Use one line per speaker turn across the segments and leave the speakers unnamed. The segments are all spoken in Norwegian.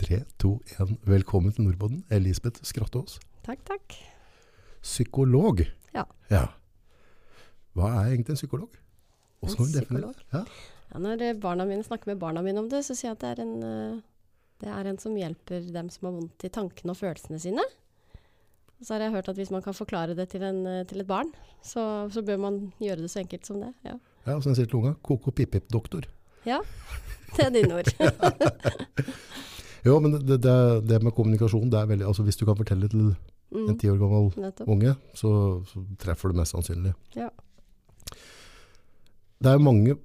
3, 2, 1. Velkommen til Nordboden, Elisabeth Skrattås.
Takk, takk.
Psykolog.
Ja.
Hva er egentlig en psykolog? Hvordan
En
kan vi definere det? Ja.
Ja, når eh, barna mine snakker med barna mine om det, så sier jeg at det er en, eh, det er en som hjelper dem som har vondt i tankene og følelsene sine. Og så har jeg hørt at hvis man kan forklare det til, en, eh, til et barn, så, så bør man gjøre det så enkelt som det. Ja,
ja, og som jeg sier til unga, koko pip-pip-doktor.
Det er dine ord.
Jo, men det, det, det med kommunikasjon, det er veldig, altså hvis du kan fortelle til en
Mm,
ti år gammel
nettopp.
unge, så, så treffer du mest sannsynlig.
Ja.
Det er jo mange,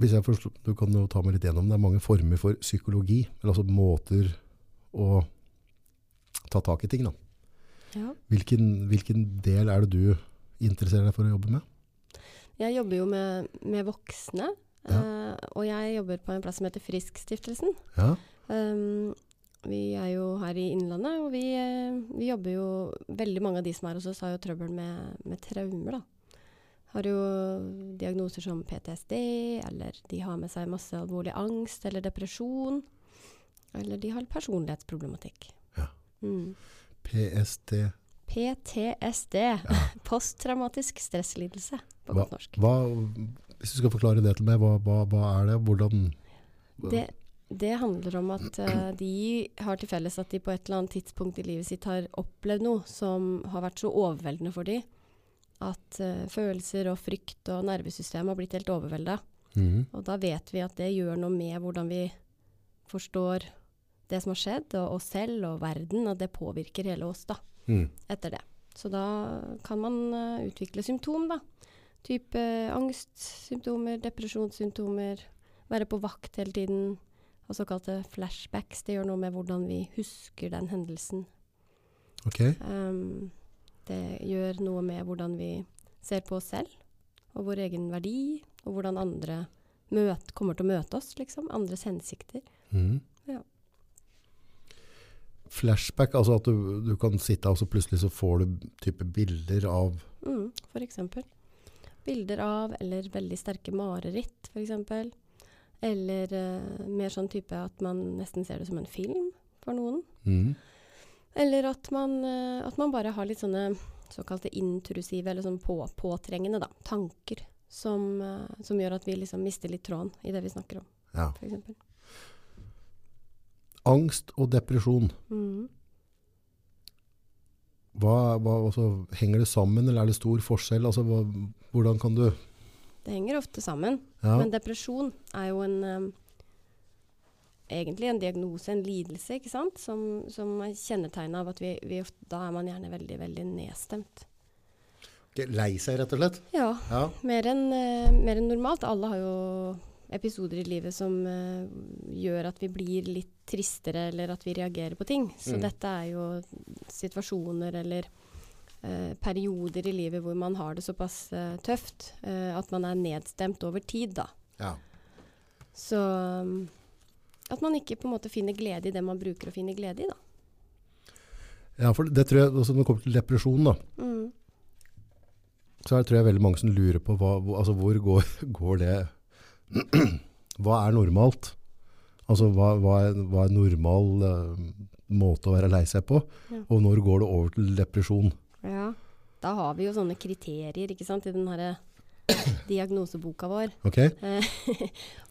hvis jeg forstår, du kan jo ta meg litt gjennom, det er mange former for psykologi, eller altså måter å ta tak i ting da.
Ja.
Hvilken, hvilken del er det du interesserer deg for å jobbe med?
Jeg jobber jo med, med voksne, eh, og jeg jobber på en plass som heter Friskstiftelsen.
Ja,
Um, vi er jo her i Innlandet, og vi, eh, vi jobber jo Veldig mange av de som er hos oss, har jo trøbbel med, med traumer, da. Har jo diagnoser som PTSD, eller de har med seg masse alvorlig angst eller depresjon. Eller de har personlighetsproblematikk.
Ja.
Mm.
PST.
PTSD, posttraumatisk stresslidelse, på godt norsk.
Hva, hvis du skal forklare det til meg, hva, hva, hva er det? Hvordan?
Det, det handler om at eh, de har til felles at de på et eller annet tidspunkt i livet sitt har opplevd noe som har vært så overveldende for dem at eh, følelser og frykt og nervesystem har blitt helt overvelda.
Mhm.
Og da vet vi at det gjør noe med hvordan vi forstår det som har skjedd, og oss selv og verden, at det påvirker hele oss da,
Mhm.
etter det. Så da kan man eh, utvikle symptom, da. Type eh, angstsymptomer, depresjonssymptomer, være på vakt hele tiden. Og såkalte flashbacks. Det gjør noe med hvordan vi husker den hendelsen.
Ok,
Ehm, det gjør noe med hvordan vi ser på oss selv, og vår egen verdi, og hvordan andre møt, kommer til å møte oss, liksom. Andres hensikter.
Mhm.
Ja.
Flashback, altså at du, du kan sitte og så plutselig så får du type bilder av
Mm, for eksempel. Bilder av, eller veldig sterke mareritt, for eksempel. Eller eh, mer sånn type at man nesten ser det som en film for noen.
Mhm.
Eller at man, eh, at man bare har litt sånne såkalte intrusive, eller sånn på, påtrengende da, tanker. Som, eh, som gjør at vi liksom mister litt tråden i det vi snakker om,
ja.
f.eks.
Angst og depresjon,
Mm.
hva, hva, altså, henger det sammen, eller er det stor forskjell? Altså, hva, hvordan kan du...
Det henger ofte sammen.
Ja.
Men depresjon er jo en eh, egentlig en diagnose, en lidelse, ikke sant? Som, som er kjennetegna av at vi, vi ofte, da er man gjerne veldig, veldig nedstemt.
Ok, Lei seg, rett og slett.
Ja,
Ja.
Mer enn eh, mer enn normalt. Alle har jo episoder i livet som eh, gjør at vi blir litt tristere, eller at vi reagerer på ting. Så
Mm.
dette er jo situasjoner eller eh, perioder i livet hvor man har det såpass eh, tøft eh, at man er nedstemt over tid, da.
Ja.
Så um, at man ikke på en måte finner glede i det man bruker å finne glede i, da.
Ja, for det tror jeg, altså når det kommer til depresjon da,
Mm.
så er det tror jeg veldig mange som lurer på hva, hvor- altså, hvor går, går det Hva er normalt? Altså hva, hva, er, hva er normal eh, måte å være lei seg på?
Ja.
Og når går det over til depresjon?
Ja. Da har vi jo sånne kriterier, ikke sant, i den herre diagnoseboka vår.
Ok?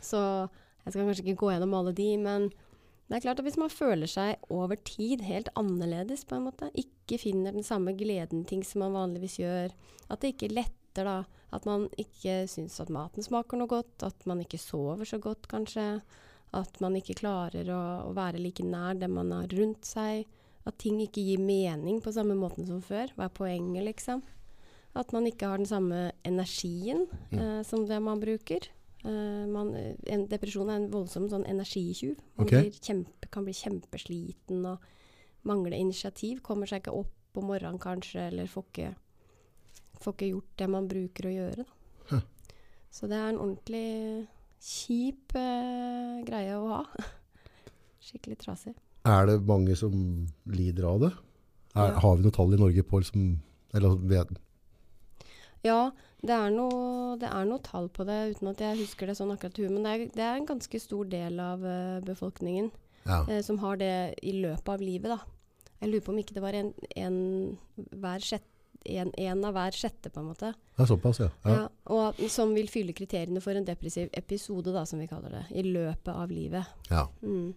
Så jeg skal kanskje ikke gå gjennom alle de, men det er klart at hvis man føler seg over tid helt annerledes, på en måte, ikke finner den samme gleden i ting som man vanligvis gjør, at det ikke letter, da, at man ikke syns at maten smaker noe godt, at man ikke sover så godt, kanskje, at man ikke klarer å, å være like nær dem man har rundt seg, at ting ikke gir mening på samme måten som før, hva er poenget, liksom? At man ikke har den samme energien eh, som det man bruker. Eh, man, en depresjon er en voldsom sånn energitjuv. Man
Ok.
blir kjempe, kan bli kjempesliten og mangler initiativ. Kommer seg ikke opp om morgenen kanskje, eller får ikke, får ikke gjort det man bruker å gjøre. Da.
Huh.
Så det er en ordentlig kjip eh, greie å ha. Skikkelig trasig.
Er det mange som lider av det? Er,
Ja.
har vi noe tall i Norge på liksom, eller, vet-
Ja, det er noe, det er noe tall på det, uten at jeg husker det sånn akkurat i huet. Men det er, det er en ganske stor del av eh, befolkningen.
Ja.
eh, som har det i løpet av livet. Da. Jeg lurer på om ikke det var en, en, hver sjette, en, en av hver sjette, på en måte.
Det er såpass, ja.
Ja.
ja.
og at- som vil fylle kriteriene for en depressiv episode, da, som vi kaller det. I løpet av livet.
ja.
Mm.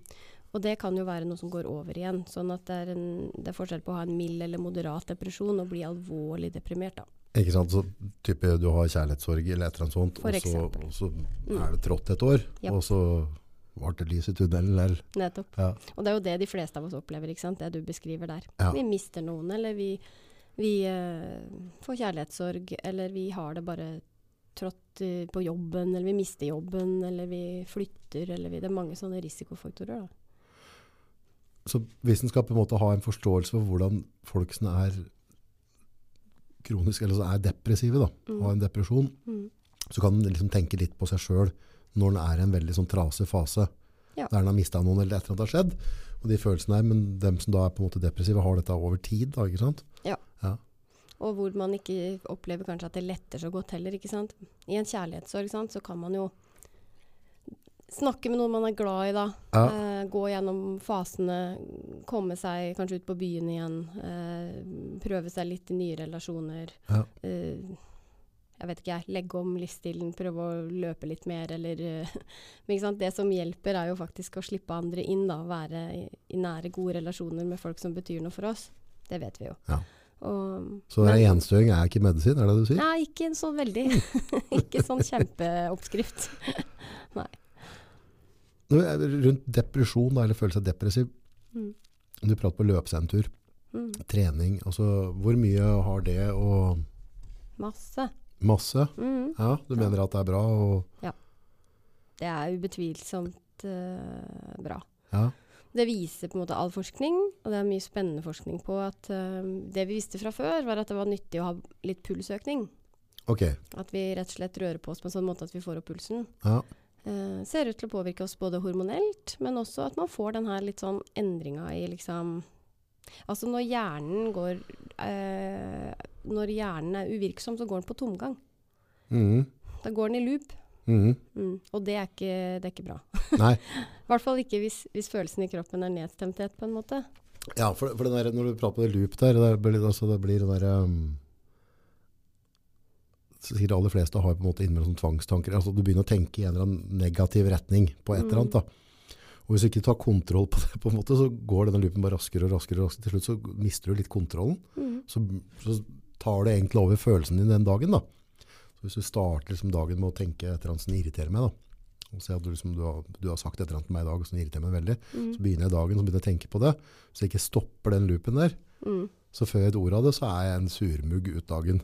Og det kan jo være noe som går over igjen. Sånn at det er, en, det er forskjell på å ha en mild eller moderat depresjon og bli alvorlig deprimert, da.
Ikke sant, så type du har kjærlighetssorg eller et eller annet sånt,
For
og så,
eksempel. Mm.
og så er det trått et år,
Japp.
og så var det lys i tunnelen der.
Nettopp.
Ja,
Og det er jo det de fleste av oss opplever, ikke sant? det du beskriver der.
Ja.
Vi mister noen, eller vi, vi eh, får kjærlighetssorg, eller vi har det bare trått eh, på jobben, eller vi mister jobben, eller vi flytter, eller vi Det er mange sånne risikofaktorer, da.
Så hvis en skal på en måte ha en forståelse for hvordan folk som er kronisk, eller som er depressive, da,
Mm.
har en depresjon,
Mm.
så kan en liksom tenke litt på seg selv når en er i en veldig sånn trasig fase,
Ja.
der en har mistet noen eller et eller annet har skjedd. Og de følelsene her, men dem som da er på en måte depressive, har dette over tid, da, ikke sant?
Og hvor man ikke opplever kanskje at det letter så godt heller, ikke sant. I en kjærlighetssorg, sant, så kan man jo snakke med noen man er glad i, da.
Ja,
Eh, gå gjennom fasene, komme seg kanskje ut på byen igjen. Eh, prøve seg litt i nye relasjoner.
Ja.
Eh, jeg vet ikke, jeg. Legge om livsstilen, prøve å løpe litt mer, eller eh, Men ikke sant? det som hjelper, er jo faktisk å slippe andre inn, da. Være i, i nære, gode relasjoner med folk som betyr noe for oss. Det vet vi jo.
Ja.
Og,
så
men-
enstøing er ikke medisin, er det det du sier?
Nei, ikke en sånn veldig Ikke sånn kjempeoppskrift.
Nå er det Rundt depresjon, da, eller følelse av depressiv,
Mm.
du prater på løpsentur,
Mm,
trening, altså hvor mye har det og
masse.
masse?
Mm.
Ja, du
Ja.
mener at det er bra og
Det er ubetvilsomt eh, bra.
ja,
Det viser på en måte all forskning, og det er mye spennende forskning på at eh, det vi visste fra før, var at det var nyttig å ha litt pulsøkning.
ok,
At vi rett og slett rører på oss på en sånn måte at vi får opp pulsen.
ja,
Eh, ser ut til å påvirke oss både hormonelt, men også at man får den her litt sånn endringa i liksom Altså når hjernen går eh, Når hjernen er uvirksom, så går den på tomgang.
Mhm,
Da går den i loop.
mhm.
Mm. Og det er ikke, det er ikke bra.
nei,
I hvert fall ikke hvis, hvis følelsen i kroppen er nedstemthet, på en måte.
ja, for, for den der, når du prater på det loop der, det blir, altså, det blir den der, um, sikkert de aller fleste har på en måte innimellom sånn tvangstanker, altså du begynner å tenke i en eller annen negativ retning på et eller annet da. Og hvis du ikke tar kontroll på det på en måte, så går denne loopen bare raskere og raskere og raskere. Til slutt så mister du litt kontrollen.
Mm.
så, så tar det egentlig over følelsen din den dagen. Da. Så hvis du starter liksom dagen med å tenke et eller annet som irriterer meg, da, og se at du, liksom, du, har, du har sagt et eller annet til meg i dag som irriterer meg veldig,
Mm.
så begynner jeg dagen så begynner jeg å tenke på det. Så jeg ikke stopper den loopen der.
Mm.
Så før jeg et ord av det, så er jeg en surmugg ut dagen.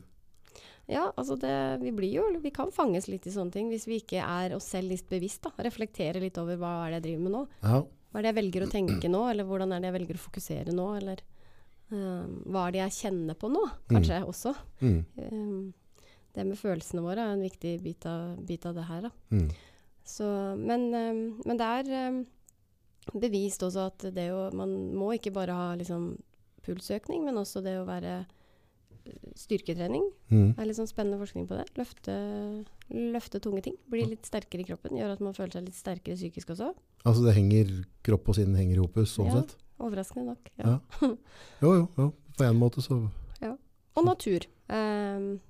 Ja, altså det, vi blir jo Vi kan fanges litt i sånne ting hvis vi ikke er oss selv litt bevisst, da. Reflektere litt over hva er det jeg driver med nå.
Ja,
Hva er det jeg velger å tenke nå, eller hvordan er det jeg velger å fokusere nå, eller eh, hva er det jeg kjenner på nå, kanskje også.
mm,
Eh, det med følelsene våre er en viktig bit av, bit av det her, da.
mm,
Så, men, eh, men det er eh, bevist også at det å Man må ikke bare ha liksom pulsøkning, men også det å være eh, Styrketrening
mm.
det er litt sånn spennende forskning på det. Løfte, løfte tunge ting. Bli litt sterkere i kroppen. Gjør at man føler seg litt sterkere psykisk også.
Altså det henger, kropp og sinn henger i hopus, sånn
Ja.
sett.
Overraskende nok. Ja.
Ja. Jo, jo, jo. På en måte så,
Og natur. Ehm,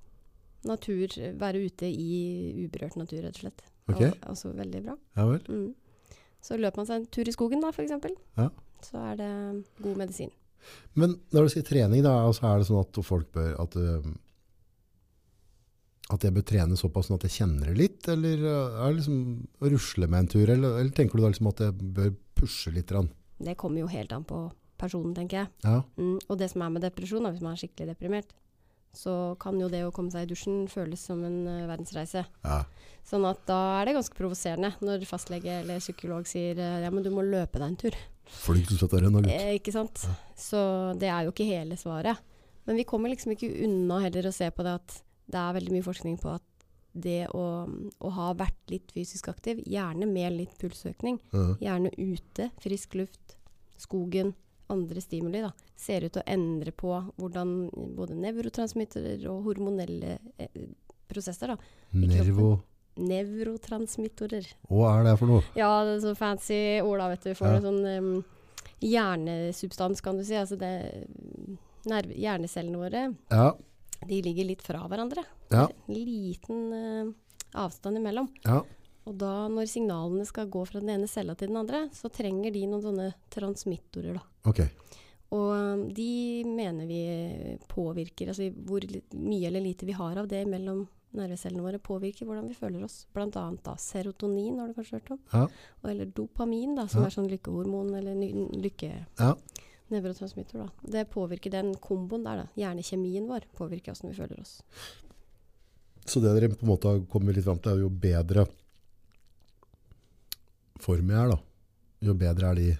natur, være ute i uberørt natur, rett og slett.
ok,
Det er også veldig bra.
ja vel.
Mm. Så løper man seg en tur i skogen, da, f.eks.
Ja.
Så er det god medisin.
Men når du sier trening, da, altså er det sånn at folk bør at, øhm, at jeg bør trene såpass sånn at jeg kjenner det litt, eller øh, er det liksom å rusle med en tur, eller, eller tenker du da liksom at jeg bør pushe litt? grann?
Det kommer jo helt an på personen, tenker jeg.
Ja,
Mm. Og det som er med depresjon, da, hvis man er skikkelig deprimert, så kan jo det å komme seg i dusjen føles som en eh, verdensreise.
ja,
Sånn at da er det ganske provoserende når fastlege eller psykolog sier eh, ja, men du må løpe deg en tur.
flink du setter den, da, gutt.
Eh, ikke sant? Så det er jo ikke hele svaret. Men vi kommer liksom ikke unna heller å se på det at det er veldig mye forskning på at det å, å ha vært litt fysisk aktiv, gjerne med litt pulsøkning,
Ja.
gjerne ute, frisk luft, skogen, andre stimuli, da, ser ut til å endre på hvordan både nevrotransmittere og hormonelle eh, prosesser da, i kroppen.
Nervo,
nevrotransmittorer.
Hva er det for noe?
Ja, det er så fancy ord da, vet du. For
Ja.
en sånn em, hjernesubstans, kan du si. Altså det nerve, Hjernecellene våre,
Ja,
de ligger litt fra hverandre.
ja,
En liten eh, avstand imellom.
ja.
Og da, når signalene skal gå fra den ene cella til den andre, så trenger de noen sånne transmittorer, da.
Ok.
Og um, de mener vi påvirker, altså hvor li- mye eller lite vi har av det mellom nervecellene våre, påvirker hvordan vi føler oss. Blant annet da serotonin, har du kanskje hørt om.
Ja,
Og, eller dopamin, da, som
Ja.
er sånn lykkehormon eller ny- lykke...
ja,
Nevrotransmitter, da. Det påvirker den komboen der, da. Hjernekjemien vår påvirker åssen vi føler oss.
så det dere på en måte har kommet litt frem til er jo bedre form jeg er da. Jo bedre er de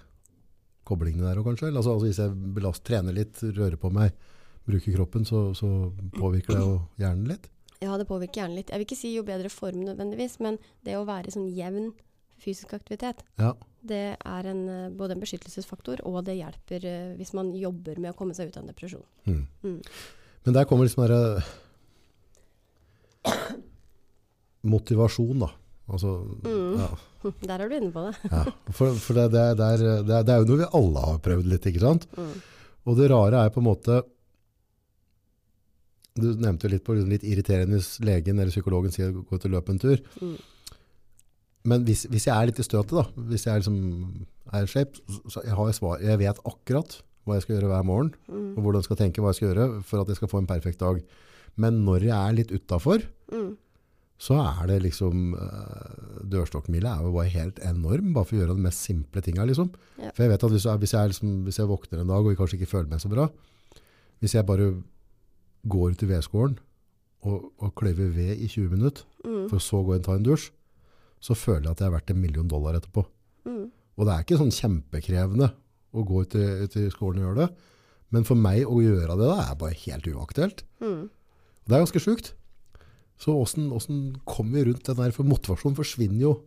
koblingene der også kanskje. Eller, Altså, altså hvis jeg belast, trener litt, rører på meg, bruker kroppen, så, så påvirker det jo hjernen litt.
Ja, det påvirker hjernen litt. Jeg vil ikke si jo bedre form nødvendigvis, men det å være i sånn jevn fysisk aktivitet,
Ja,
det er en, eh, både en beskyttelsesfaktor, og det hjelper eh, hvis man jobber med å komme seg ut av en depresjon.
Hmm.
Mm.
Men der kommer liksom derre Motivasjon, da. Altså, ja,
Der er du inne på det.
ja. For, for det, det, er- det, er, det, er, det er jo noe vi alle har prøvd litt, ikke sant?
Mm.
Og det rare er på en måte Du nevnte jo litt på liksom litt irriterende hvis legen eller psykologen sier gå ut og løp en tur.
Mm.
Men hvis, hvis jeg er litt i støtet, da, hvis jeg liksom er shape, så- så jeg har jeg svar. Jeg vet akkurat hva jeg skal gjøre hver morgen
Mm.
og hvordan jeg skal tenke hva jeg skal gjøre for at jeg skal få en perfekt dag. Men når jeg er litt utenfor,
Mm.
så er det liksom eh, Dørstokkmila er jo bare helt enorm, bare for å gjøre de mest simple tinga, liksom.
Ja.
For jeg vet at hvis jeg, hvis, jeg er liksom, hvis jeg våkner en dag og jeg kanskje ikke føler meg så bra, hvis jeg bare går ut i vedskålen og, og kløyver ved i 20 minutter,
Mm.
for så å gå inn og ta en dusj, så føler jeg at jeg er verdt en million dollar etterpå.
Mm.
Og det er ikke sånn kjempekrevende å gå ut i, ut i skolen og gjøre det. Men for meg å gjøre det da, er bare helt uaktuelt.
Mm.
Og Det er ganske sjukt. Så hvordan, hvordan kommer vi rundt den der, for motivasjon forsvinner jo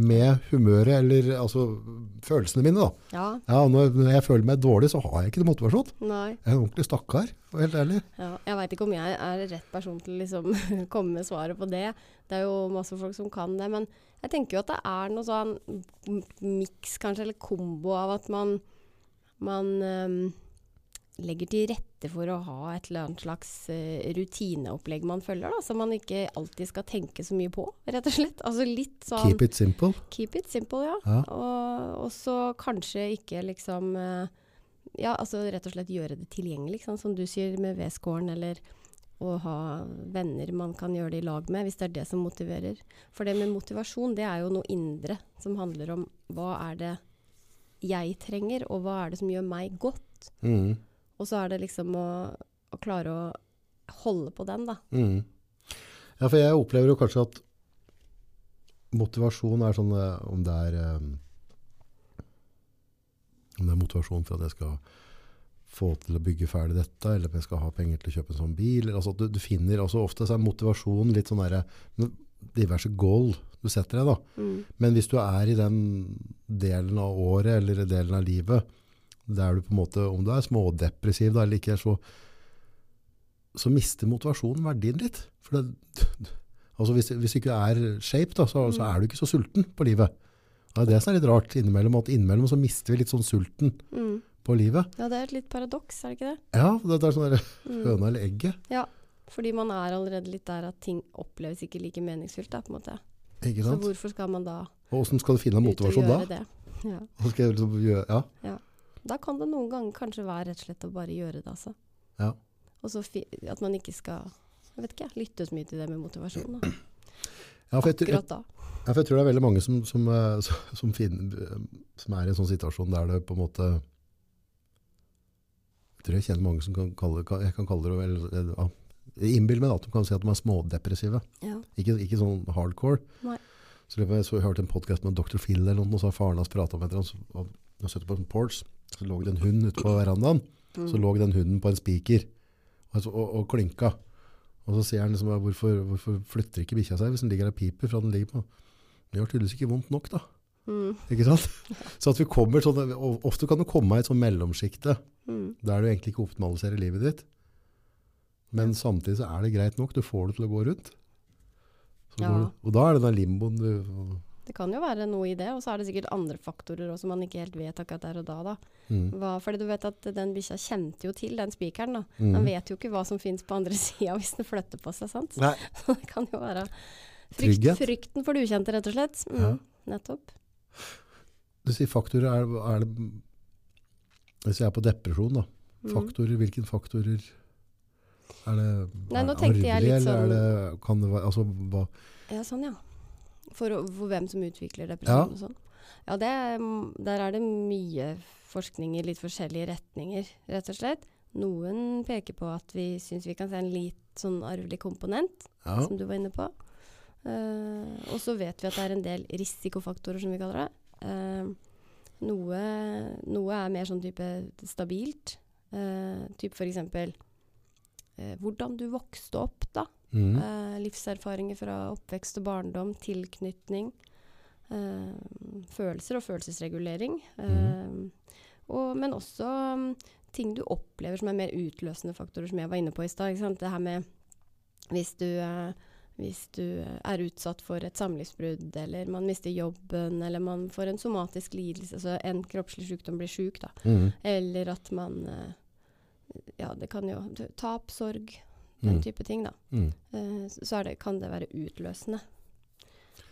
med humøret, eller altså, følelsene mine da.
Ja.
Ja, når, når jeg føler meg dårlig, så har jeg ikke noe motivasjon.
Nei.
Jeg er en ordentlig stakkar, og helt ærlig.
Ja. Jeg veit ikke om jeg er rett person til å liksom komme med svaret på det. Det er jo masse folk som kan det. Men jeg tenker jo at det er noe sånn m- miks, kanskje, eller kombo av at man, man ehm, legger til rette for å ha et eller annet slags eh, rutineopplegg man følger, da, som man ikke alltid skal tenke så mye på, rett og slett. Altså litt sånn
Keep it simple.
Keep it simple, ja.
Ja.
Og og så kanskje ikke liksom eh, Ja, altså rett og slett gjøre det tilgjengelig, ikke sant, som du sier med vedskåren, eller å ha venner man kan gjøre det i lag med, hvis det er det som motiverer. For det med motivasjon, det er jo noe indre som handler om hva er det jeg trenger, og hva er det som gjør meg godt.
Mm,
Og så er det liksom å, å klare å holde på den, da.
mm. Ja, for jeg opplever jo kanskje at motivasjon er sånn, eh, om det er, eh, om det er motivasjon for at jeg skal få til å bygge ferdig dette, eller om jeg skal ha penger til å kjøpe en sånn bil, eller altså, at du, du finner, altså ofte så er motivasjon litt sånn der, diverse goal du setter deg da.
Mm.
Men hvis du er i den delen av året eller i delen av livet, der du på en måte, om du er smådepressiv da, eller ikke, så, så mister motivasjonen verdien litt. For det, altså hvis, hvis du ikke er shape, da, så, så er du ikke så sulten på livet. Det er det som er litt rart innimellom, at innimellom så mister vi litt sånn sulten
Mm.
på livet.
Ja, det er et litt paradoks, er det Mm. ikke det?
Ja, det, det er sånn der, høna eller egget,
Ja, fordi man er allerede litt der at ting oppleves ikke like meningsfylt, da, på en måte.
ikke
Så
sant?
hvorfor skal man da
Og hvordan skal du finne
ut og
motivasjon da?
gjøre det? Ja.
Hvordan skal jeg liksom gjøre, ja,
Da kan det noen ganger kanskje være rett og slett å bare gjøre det, altså.
Ja.
Og så fi at man ikke skal jeg vet ikke, jeg, lytte så mye til det med motivasjon. Da.
ja for jeg, tror-
Akkurat da.
Ja, for jeg tror det er veldig mange som, som, eh, som- som, finner, som er i en sånn situasjon der det på en måte Jeg tror jeg kjenner mange som kan kalle, kan, jeg kan kalle det vel, eh, ja, jeg innbiller meg da, at de kan si at de er smådepressive.
Ja.
Ikke, ikke sånn hardcore.
Nei.
Så det var- Jeg så, jeg hørte en podcast med Dr. Phil eller noe, og så har faren hans pratet om et eller annet. så- og De satt på en porch, så lå det en hund ute på verandaen. Så
Mm.
lå den hunden på en spiker og, så- og, og klinka. Og så sier han liksom, «Ja, hvorfor, hvorfor flytter ikke bikkja seg hvis den ligger der og piper fra den ligger på? Det har tydeligvis ikke vondt nok da.
Mm,
Ikke sant? Så at vi kommer sånn, og ofte kan du komme i et sånn mellomskikte,
mm,
der du egentlig ikke optimaliserer livet ditt. Men samtidig så er det greit nok, du får det til å gå rundt. Så
Ja.
går du, og da er det den limboen du
Det kan jo være noe i det, og så er det sikkert andre faktorer også man ikke helt vet akkurat der og da. da.
mm,
Hva, fordi du vet at den bikkja kjente jo til den spikeren. da.
mm.
Den vet jo ikke hva som finnes på andre sida hvis den flytter på seg. sant?
Nei,
Så det kan jo være frykt,
Trygghet.
frykten for det ukjente, rett og slett. Mm,
Ja.
Nettopp.
du sier faktorer. Er, er det Hvis jeg er på depresjon, da.
Mm.
Faktorer, hvilke faktorer er det
Nei,
er
nå
det
tenkte jeg litt sånn-
eller er det, kan det være altså, hva,
Ja, sånn, ja. For, å- for hvem som utvikler depresjon og sånn. Ja, det, er- mm, der er det mye forskning i litt forskjellige retninger, rett og slett. Noen peker på at vi syns vi kan se en litt sånn arvelig komponent,
ja.
som du var inne på. Eh, og så vet vi at det er en del risikofaktorer, som vi kaller det. Eh, noe, noe er mer sånn type stabilt. Uh, type for eksempel eh, hvordan du vokste opp, da.
Mm.
Eh, livserfaringer fra oppvekst og barndom, tilknytning, eh, følelser og følelsesregulering. eh, og, men også mm, ting du opplever som er mer utløsende faktorer, som jeg var inne på i stad. ikke sant? Det her med hvis du, eh, hvis du eh, er utsatt for et samlivsbrudd, eller man mister jobben, eller man får en somatisk lidelse, altså en kroppslig sykdom blir sjuk, da.
Mm.
Eller at man eh, Ja, det kan jo Tap, sorg, den
Mm.
type ting, da.
Mm.
Eh, s- så er det, kan det være utløsende.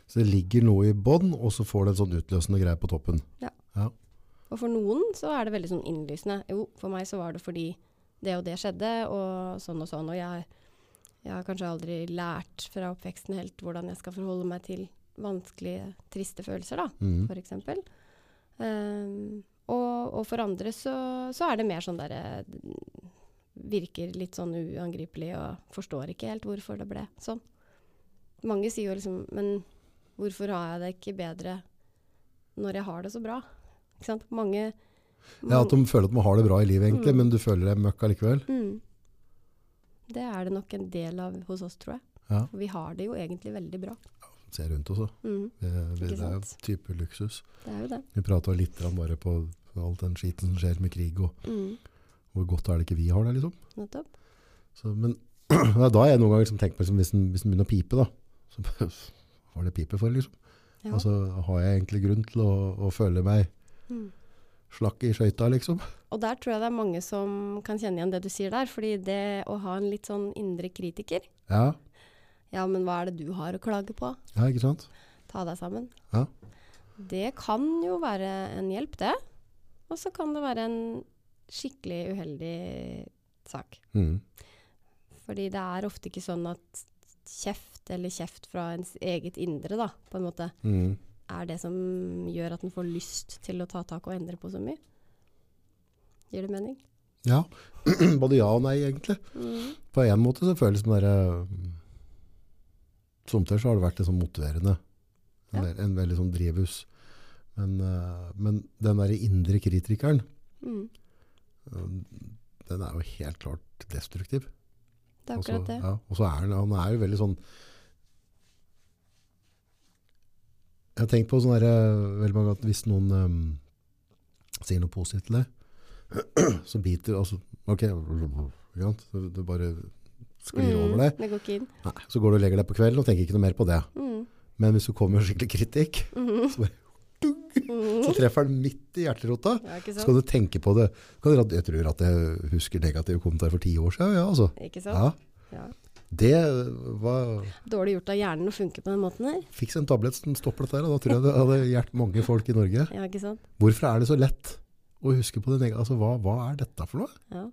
Så det ligger noe i bånn, og så får det en sånn utløsende greie på toppen.
Og for noen så er det veldig sånn innlysende. Jo, for meg så var det fordi det og det skjedde, og sånn og sånn. Og jeg, jeg har kanskje aldri lært fra oppveksten helt hvordan jeg skal forholde meg til vanskelige, triste følelser, da,
Mm.
for eksempel. Ehm, og, og for andre så, så er det mer sånn derre Virker litt sånn uangripelig og forstår ikke helt hvorfor det ble sånn. Mange sier jo liksom Men hvorfor har jeg det ikke bedre når jeg har det så bra? Ikke sant? Mange
Ja, At de føler at de har det bra i livet, egentlig,
Mm.
men du føler deg møkk allikevel.
Mm. Det er det nok en del av hos oss, tror jeg.
Ja.
For vi har det jo egentlig veldig bra.
Se rundt oss, da.
Mm.
Vi, vi,
Ikke
det er jo
sant?
type luksus.
Det er jo det.
Vi prata litt grann bare på all den skiten som skjer med krig, og
Mm.
hvor godt er det ikke vi har det, liksom.
Nettopp.
Så, men det er da jeg noen ganger liksom tenker på liksom, hvis, den, hvis den begynner å pipe, da. Så bare, hva er det pipe for, liksom?
Ja.
Altså, har jeg egentlig grunn til å, å føle meg
Mm.
slakk i skøyta, liksom?
Og der tror jeg det er mange som kan kjenne igjen det du sier der. Fordi det å ha en litt sånn indre kritiker
Ja,
Ja, men hva er det du har å klage på?
ja ikke sant?
Ta deg sammen.
Ja.
Det kan jo være en hjelp, det. Og så kan det være en skikkelig uheldig sak.
Mm.
Fordi det er ofte ikke sånn at kjeft eller kjeft fra ens eget indre, da, på en måte,
Mm.
er det som gjør at en får lyst til å ta tak og endre på så mye. Gir det mening?
Ja, både ja og nei, egentlig.
Mm.
På en måte så føles det som dere Somtider så har det vært litt sånn motiverende. En,
Ja.
ve- en veldig sånn drivhus. Men, eh, men den der indre kritikeren,
Mm.
eh, den er jo helt klart destruktiv.
Det er akkurat
og så,
det.
Ja, og så er han, han er jo veldig sånn Jeg har tenkt på sånn der, veldig mange at hvis noen ehm, sier noe positivt til deg, så biter altså, Ok, ikke sant? Så det bare sklir
Mm,
over deg.
Det går ikke inn.
Nei, så går du og legger deg på kvelden og tenker ikke noe mer på det.
Mm.
Men hvis du kommer med skikkelig kritikk,
Mhm.
Så bare
Mhm.
så treffer den midt i hjerterota.
Ja, ikke
Så kan
sant?
du tenke på det. Kan du, jeg tror at jeg husker negative kommentarer for ti år siden. Ja, altså.
Ikke sant?
Ja,
Ja.
det var
Dårlig gjort av hjernen å funke på den måten her.
Fiks en tablett som stopper dette her, og da tror jeg det hadde hjulpet mange folk i Norge.
Ja, ikke sant?
Hvorfor er det så lett å huske på det negative? Altså, hva, hva er dette for noe?
Ja.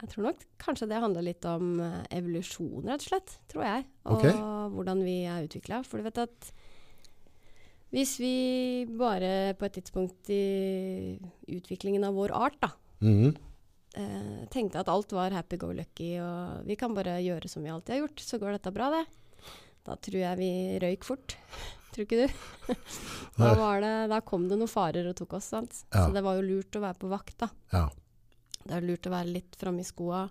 Jeg tror nok kanskje det handler litt om eh, evolusjon, rett og slett. Tror jeg. Og
Ok.
hvordan vi er utvikla. For du vet at hvis vi bare på et tidspunkt i utviklingen av vår art, da,
Mhm.
eh, tenkte at alt var happy go lucky og vi kan bare gjøre som vi alltid har gjort, så går dette bra, det. Da tror jeg vi røyk fort. Tror ikke du? Da,
Nei.
var det, da kom det noen farer og tok oss, sant.
Ja.
Så det var jo lurt å være på vakt, da.
Ja.
Det er lurt å være litt framme i skoa,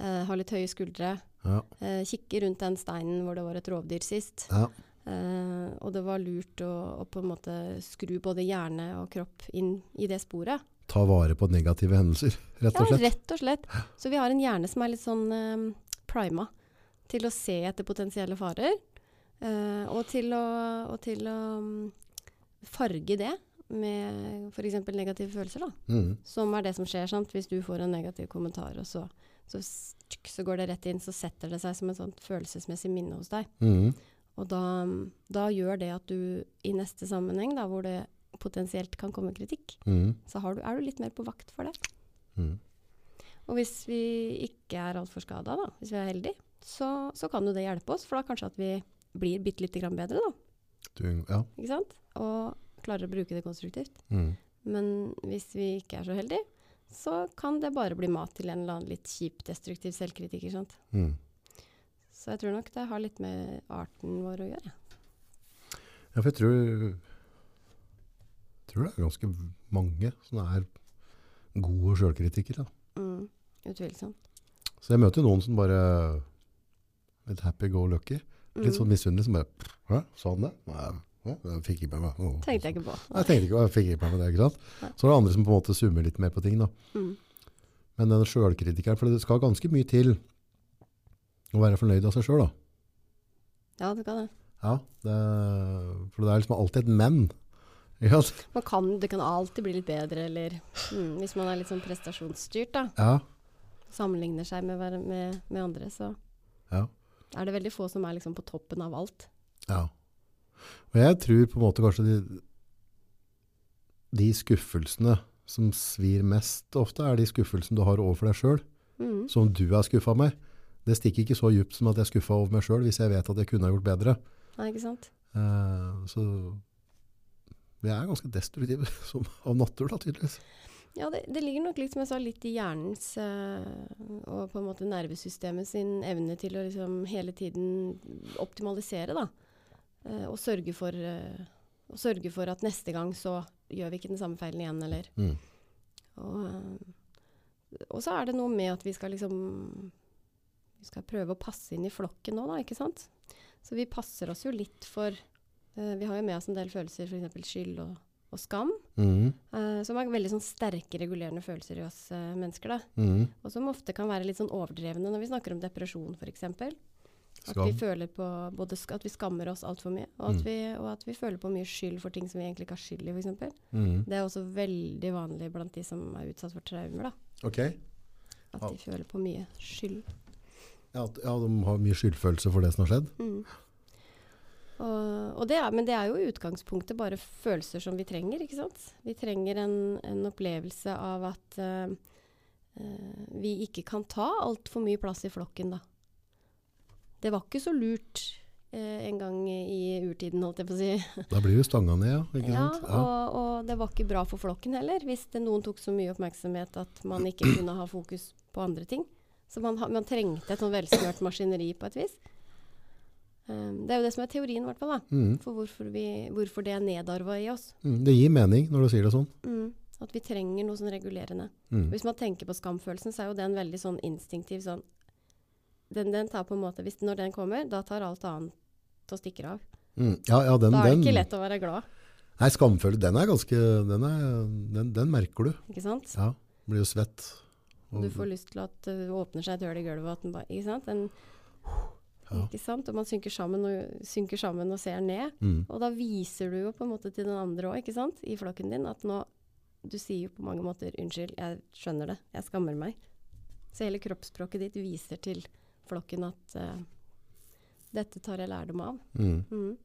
eh, ha litt høye skuldre.
Ja.
Eh, kikke rundt den steinen hvor det var et rovdyr sist.
ja.
Eh, og det var lurt å, å på en måte skru både hjerne og kropp inn i det sporet.
Ta vare på negative hendelser, rett
Ja,
og slett.
rett og slett. Så vi har en hjerne som er litt sånn eh, prima til å se etter potensielle farer. Eh, og til å, og til å mm, farge det med f.eks. negative følelser, da.
Mm.
Som er det som skjer, sant? hvis du får en negativ kommentar, og så, så, s- tsk, så går det rett inn, så setter det seg som et sånt følelsesmessig minne hos deg.
Mm.
Og da, mm, da gjør det at du i neste sammenheng, da, hvor det potensielt kan komme kritikk,
Mm.
så har du, er du litt mer på vakt for det.
Mm.
Og hvis vi ikke er altfor skada, da, hvis vi er heldige, så, så kan jo det hjelpe oss, for da kanskje at vi blir bitte lite grann bedre, da.
Du, ja.
Ikke sant? Og klarer å bruke det konstruktivt.
Mm.
Men hvis vi ikke er så heldige, så kan det bare bli mat til en eller annen litt kjip, destruktiv selvkritiker. Sant?
Mm.
Så jeg tror nok det har litt med arten vår å gjøre.
Ja, for jeg tror, tror det er ganske mange som er gode selvkritikere. da.
Mm, utvilsomt.
Så jeg møter jo noen som bare litt happy-go-lucky,
Mm.
litt sånn misunnelig, som bare, hæ, sa han det? Nei, hæ, jeg fikk ikke med meg. Åh.
Tenkte jeg ikke
Nei,
på.
jeg tenkte ikke, jeg fikk ikke med meg det, ikke sant?
Nei.
Så er det andre som på en måte summer litt mer på ting da.
Mm,
Men den selvkritikeren, for det skal ganske mye til å være fornøyd av seg selv da.
ja, du kan det.
Ja, det, for det er liksom alltid et menn. Ja,
Man kan, det kan alltid bli litt bedre, eller mm, hvis man er litt sånn prestasjonsstyrt, da.
ja,
Sammenligner seg med, hver- med, med andre, så
ja.
er det veldig få som er liksom på toppen av alt.
Ja. Og jeg tror på en måte kanskje de, de skuffelsene som svir mest ofte, er de skuffelsene du har overfor deg sjøl,
Mm,
som du er skuffa med. Det stikker ikke så djupt som at jeg er skuffa over meg sjøl, hvis jeg vet at jeg kunne ha gjort bedre.
nei, ikke sant?
Eh, så vi er ganske destruktive som, av natur, da, tydeligvis.
Ja, det, det ligger nok litt, som jeg sa, litt i hjernens eh, og på en måte nervesystemet sin evne til å liksom hele tiden optimalisere, da. Eh, og, sørge for, eh, og sørge for at neste gang så gjør vi ikke den samme feilen igjen, eller
Mm.
og, eh, og så er det noe med at vi skal liksom Vi skal prøve å passe inn i flokken nå, da, ikke sant? Så vi passer oss jo litt for eh, Vi har jo med oss en del følelser, f.eks. skyld og, og skam.
Mm,
Eh, som er veldig sånn sterke regulerende følelser i oss eh, mennesker. Da.
mm,
Og som ofte kan være litt sånn overdrevne når vi snakker om depresjon f.eks. At vi
skam.
føler på både sk at vi skammer oss altfor mye, og at,
Mm.
vi, og at vi føler på mye skyld for ting som vi egentlig ikke har skyld i f.eks.
Mm.
Det er også veldig vanlig blant de som er utsatt for traumer. Da.
Ok.
At de føler på mye skyld.
Ja, at- ja, de har mye skyldfølelse for det som har skjedd.
Mm. Og, og det er, men det er jo i utgangspunktet bare følelser som vi trenger, ikke sant? Vi trenger en, en opplevelse av at eh, eh, vi ikke kan ta altfor mye plass i flokken, da. Det var ikke så lurt eh, en gang i urtiden, holdt jeg på å si.
Da blir du stanga ned, ja. Ikke
Ja,
sant? Ja.
og, og det var ikke bra for flokken heller, hvis det noen tok så mye oppmerksomhet at man ikke kunne ha fokus på andre ting. Så man, ha- man trengte et sånn velsmørt maskineri på et vis. Um, det er jo det som er teorien, i hvert fall. da,
Mm,
For hvorfor, vi, hvorfor det er nedarva i oss.
mm. Det gir mening når du sier det sånn.
Mm. At vi trenger noe sånn regulerende.
Mm.
Hvis man tenker på skamfølelsen, så er jo den veldig sånn instinktiv sånn den, den tar på en måte, hvis, Når den kommer, da tar alt annet og stikker av.
Mm, ja, ja, den,
Da er det ikke
den-
lett å være glad,
Nei, skamfølelse, den er ganske Den, er, den, den merker du.
ikke sant?
Ja, blir jo svett.
Og du får lyst til at eh, det åpner seg et hull i gulvet, og at den bare Ikke sant? Den,
Ja.
ikke sant? Og man synker sammen og, synker sammen og ser ned.
mm,
Og da viser du jo på en måte til den andre òg, ikke sant, i flokken din, at nå Du sier jo på mange måter 'unnskyld, jeg skjønner det, jeg skammer meg'. Så hele kroppsspråket ditt viser til flokken at eh, 'dette tar jeg lærdom av'.
mm.
Mm.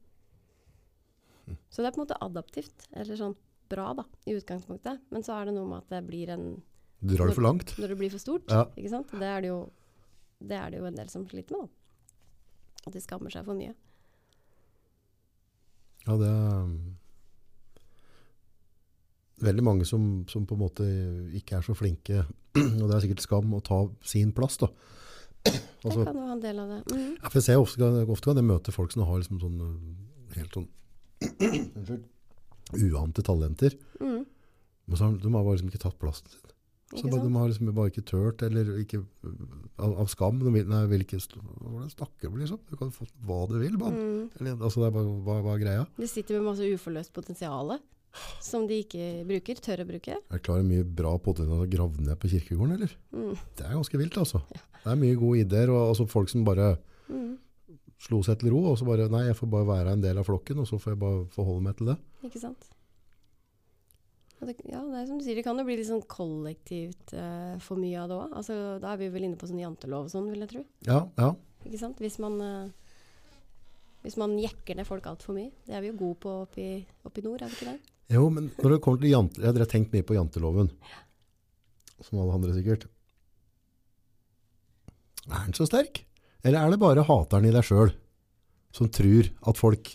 Så det er på en måte adaptivt, eller sånn bra, da, i utgangspunktet. Men så er det noe med at det blir en
Du drar det for langt.
når det blir for stort.
Ja.
Ikke sant? Det, er det, jo, det er det jo en del som sliter med. Da. At de skammer seg for mye.
Ja, det er um, Veldig mange som, som på en måte ikke er så flinke, og det er sikkert skam, å ta sin plass, da.
det
Altså,
kan jo ha en del av det. Mhm.
ja, for jeg ser ofte, kan- ofte kan jeg møte folk som har liksom sånn øh, helt sånn Unnskyld. Uante talenter.
Mhm.
Men så har, de har bare liksom ikke tatt plassen sin. Så
Ikke
bare,
sant?
de har liksom bare ikke tørt, eller ikke, uh, av, av skam. De vil, nei, vil ikke, st- hvordan snakker du liksom? Du kan få hva du vil, mann.
Mhm.
Eller, altså, det er bare, hva, hva er greia?
De sitter med masse uforløst potensial som de ikke bruker, tør å bruke.
Er det klart mye bra potensial å grave ned på kirkegården, eller?
Mhm.
Det er ganske vilt, altså. Det er mye gode ideer, og altså, folk som bare
Mhm.
slo seg til ro, og så bare Nei, jeg får bare være en del av flokken, og så får jeg bare forholde meg til det.
Ikke sant? Og det, ja, det er som du sier, det kan jo bli litt sånn kollektivt eh, for mye av det òg. Altså, da er vi vel inne på sånn jantelov og sånn, vil jeg tro.
Ja, ja.
Ikke sant? Hvis man, eh, hvis man jekker ned folk altfor mye. Det er vi jo gode på oppe i, oppe i nord, er vi ikke det?
Jo, men når det kommer til jante, ja, Dere har tenkt mye på janteloven. Som alle andre sikkert. Er den så sterk? Eller er det bare hateren i deg sjøl som tror at folk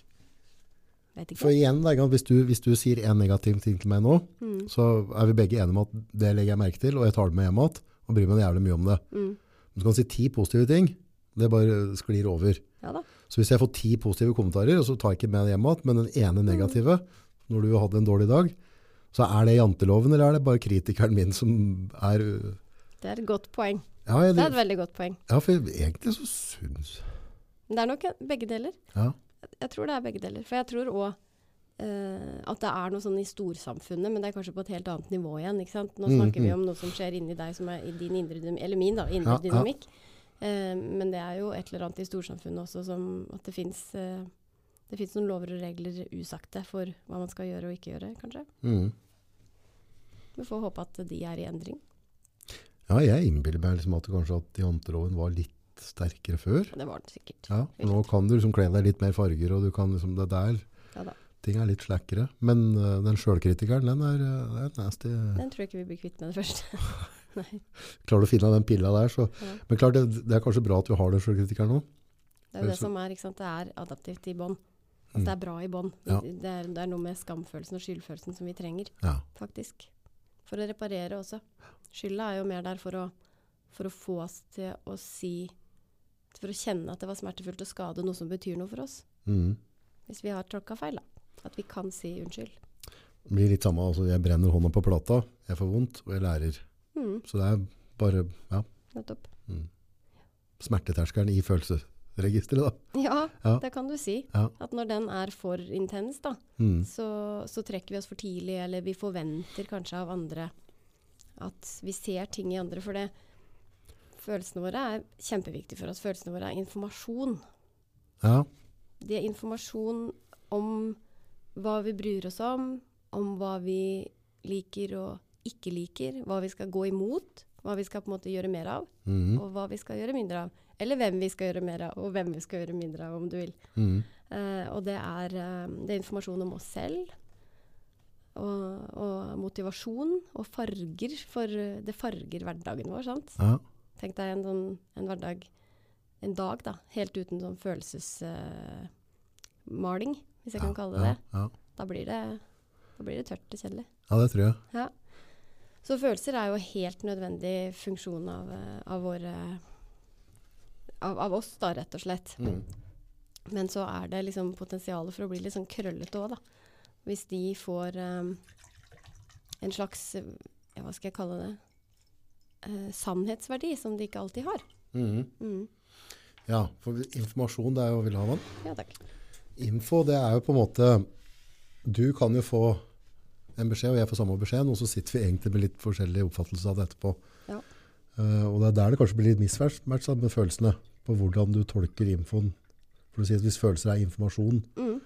Vet
For
ikke.
igjen, da, ikke sant, hvis, du, hvis du sier en negativ ting til meg nå,
Mm,
så er vi begge enige om at det legger jeg merke til, og jeg tar det med hjem igjen og bryr meg jævlig mye om det.
mm.
Men så kan du si ti positive ting, det bare sklir over.
Ja da.
Så hvis jeg får ti positive kommentarer, og så tar jeg ikke med det hjem igjen, men den
Mm.
ene negative, når du hadde en dårlig dag, så er det janteloven, eller er det bare kritikeren min som er
Det er et godt poeng.
Ja, jeg,
Det er et veldig godt poeng.
ja for egentlig så syns
Men det er nok en- begge deler.
Ja.
Jeg tror det er begge deler. For jeg tror òg eh, at det er noe sånn i storsamfunnet, men det er kanskje på et helt annet nivå igjen. ikke sant? Nå
Mm,
snakker vi
mm.
om noe som skjer inni deg, som er i din indre dynamikk, eller min da, indre
Ja, ja.
dynamikk. Eh, men det er jo et eller annet i storsamfunnet også som at det fins det finnes noen lover og regler usagte for hva man skal gjøre og ikke gjøre, kanskje.
mm.
Vi får håpe at de er i endring.
Ja, jeg innbiller meg liksom at det kanskje at janteloven var litt sterkere før.
Det var det sikkert.
Ja, for nå kan du liksom kle deg litt mer farger, og du kan liksom det der.
Ja da.
Ting er litt slakkere. Men øh, den sjølkritikeren, den er, øh, det er nasty.
Den tror jeg ikke vi blir kvitt med det første.
Klarer du å finne den pilla der, så
Ja.
Men klart, det, det er kanskje bra at vi har den sjølkritikeren nå.
Det er jo det
Altså-
som er, ikke sant? det er adaptivt i bånd.
Mm.
At det er bra i bånd.
Ja.
Det, det er- det er noe med skamfølelsen og skyldfølelsen som vi trenger,
Ja.
faktisk. For å reparere også. Skylda er jo mer der for å, for å få oss til å si For å kjenne at det var smertefullt å skade noe som betyr noe for oss.
Mm.
Hvis vi har tråkka feil, da. At vi kan si unnskyld.
Det blir litt samme, altså jeg brenner hånda på plata, jeg får vondt, og jeg lærer.
Mm,
Så det er bare ja,
nettopp.
smerteterskeren i følelsesregisteret da.
Ja,
Ja.
det kan du si.
Ja.
At når den er for intens, da,
Mm.
så, så trekker vi oss for tidlig, eller vi forventer kanskje av andre at vi ser ting i andre. For det, følelsene våre er kjempeviktige for oss. Følelsene våre er informasjon.
Ja,
De er informasjon om hva vi bryr oss om, om hva vi liker og ikke liker, hva vi skal gå imot, hva vi skal på en måte gjøre mer av,
mm.
og hva vi skal gjøre mindre av. Eller hvem vi skal gjøre mer av, og hvem vi skal gjøre mindre av, om du vil.
Mm.
Eh, og det er, eh, det er informasjon om oss selv. Og, og motivasjon og farger, for eh, det farger hverdagen vår. sant?
ja,
Tenk deg en, sånn, en hverdag, en dag, da, helt uten sånn følelsesmaling, hvis jeg
ja,
kan kalle det
ja,
det.
Ja.
Da blir det, da blir det tørt og kjedelig.
ja, det tror jeg.
Så følelser er jo helt nødvendig funksjon av, eh, av våre av, av oss, da, rett og slett.
Mm.
Men så er det liksom potensialet for å bli litt sånn krøllete òg, da. Hvis de får eh, en slags eh, ja, Hva skal jeg kalle det? Eh, sannhetsverdi som de ikke alltid har.
Mm.
Mm.
Ja, for informasjon det er jo, vil ha man.
Ja takk.
Info, det er jo på en måte, du kan jo få en beskjed, og jeg får samme beskjed, og så sitter vi egentlig med litt forskjellig oppfattelse av det etterpå.
Ja.
Eh, og det er der det kanskje blir litt mismatch da, med følelsene, på hvordan du tolker infoen. For du sier at hvis følelser er informasjon,
Mm.